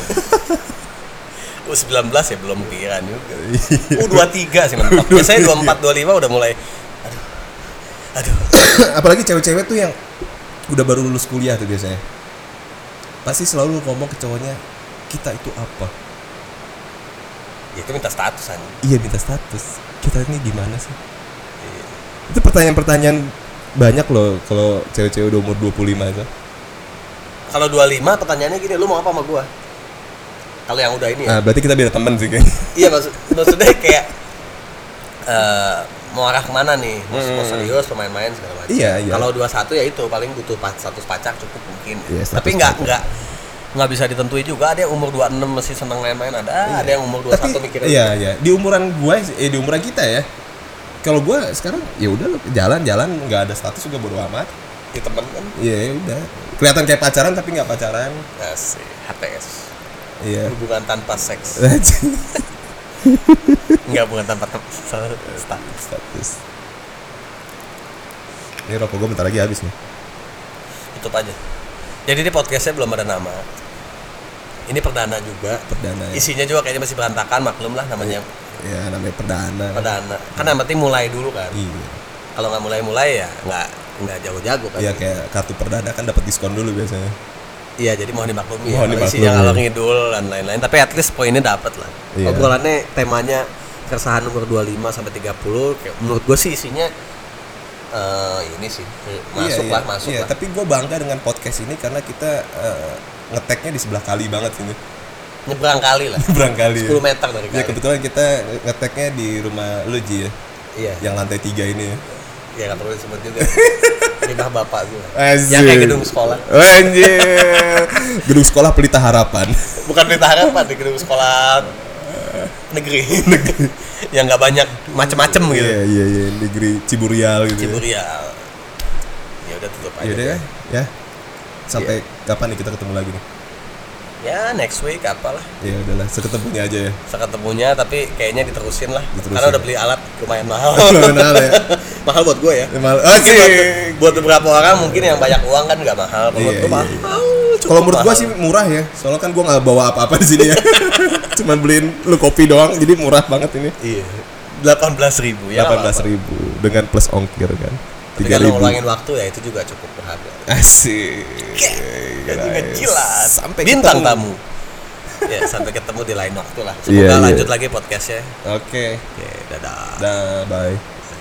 U19 ya belum pikiran juga. U23 sih mantap.
Iya,
Biasanya 24, 25 udah mulai aduh. Aduh.
apalagi cewek-cewek tuh yang udah baru lulus kuliah tuh biasanya. Pasti selalu ngomong ke cowoknya, "Kita itu apa?"
Ya, itu minta status aja.
Iya, minta status. Kita ini gimana sih? Iya. Itu pertanyaan-pertanyaan banyak loh kalau cewek-cewek udah umur 25 itu.
Kalau 25 pertanyaannya gini, lu mau apa sama gua? Kalau yang udah ini ya.
Nah, berarti kita beda teman sih kayaknya.
Iya maksud maksudnya kayak eh mau arah kemana nih? Mau, mau serius pemain-main segala macam.
Hmm. Iya, iya.
Kalau 21 ya itu paling butuh pa- status pacar cukup mungkin.
Iya, status
Tapi nggak
pacar.
nggak nggak bisa ditentui juga. Ada yang umur 26 masih seneng main-main ada, ada yang umur 21
Iya. Tapi
mikirnya.
iya iya, di umuran gua eh di umuran kita ya. Kalau gua sekarang ya udah lo jalan-jalan nggak ada status juga bodo amat.
Di temen kan.
Iya ya udah. Kelihatan kayak pacaran tapi nggak pacaran.
Asik, HTS.
Iya.
Hubungan tanpa seks. Enggak hubungan tanpa tem- se- status.
Status. Ini rokok gue bentar lagi habis nih.
Tutup aja. Jadi di podcastnya belum ada nama. Ini perdana juga.
Perdana ya.
Isinya juga kayaknya masih berantakan, maklum lah namanya
Ya namanya perdana.
perdana. Kan yang penting mulai dulu kan.
Iya.
Kalau nggak mulai-mulai ya nggak nggak jago-jago kan.
Iya kayak kartu perdana kan dapat diskon dulu biasanya.
Iya, jadi mohon dimaklumi
Mohon
ya. Kalau
dimaklumi.
Isinya ngalor ngidul dan lain-lain. Tapi at least poinnya dapat lah.
Iya.
Obrolannya temanya keresahan umur 25 sampai 30 kayak menurut gue sih isinya eh ini sih masuk
Iya,
lah
iya.
masuk
Iya,
lah
tapi gue bangga dengan podcast ini karena kita eh, ngeteknya di sebelah kali banget ini.
nyebrang kali lah
Berangkali.
10 meter dari
Ya
kali
Iya. kebetulan kita ngeteknya di rumah lu Ji ya.
iya ya,
Yang lantai tiga ini ya.
nggak perlu disebut juga rumah bapak gue
Asik.
yang kayak gedung sekolah
Anjir. gedung sekolah Pelita Harapan.
bukan berita harapan di gedung sekolah negeri yang nggak banyak macem-macem gitu
Iya iya iya negeri Ciburial gitu. ya.
Ciburial. Ya udah tutup aja.
Yaudah
deh.
ya, ya. Sampai
Iya.
kapan nih kita ketemu lagi nih?
Ya next week apalah.
Ya udahlah, seketemunya aja ya.
Seketemunya tapi kayaknya diterusin lah.
Diterusin
Karena
ya.
udah beli alat lumayan mahal.
Kenal ya.
mahal buat gue ya.
Ya, Mal.
Mungkin
Asik.
Buat, buat beberapa orang mungkin yang banyak uang kan nggak mahal. Kalau buat
Iya,
gue
iya,
mahal.
iya.
cukup
Kalau menurut gua
mahal.
sih murah ya. Soalnya kan gua nggak bawa apa-apa di sini ya. Cuman beliin lu kopi doang, jadi murah banget ini.
Iya. Delapan belas ribu ya.
Delapan belas ribu dengan plus ongkir kan.
Tiga
Tiga
ribu.
ribu.
ngulangin waktu ya itu juga cukup berharga.
Asik.
Dan juga
Guys.
jelas.
Sampai
bintang
ketemu.
tamu. ya sampai ketemu di lain waktu lah.
Iya,
Semoga
iya.
lanjut lagi podcastnya.
Oke.
Oke, dadah.
Dah, bye.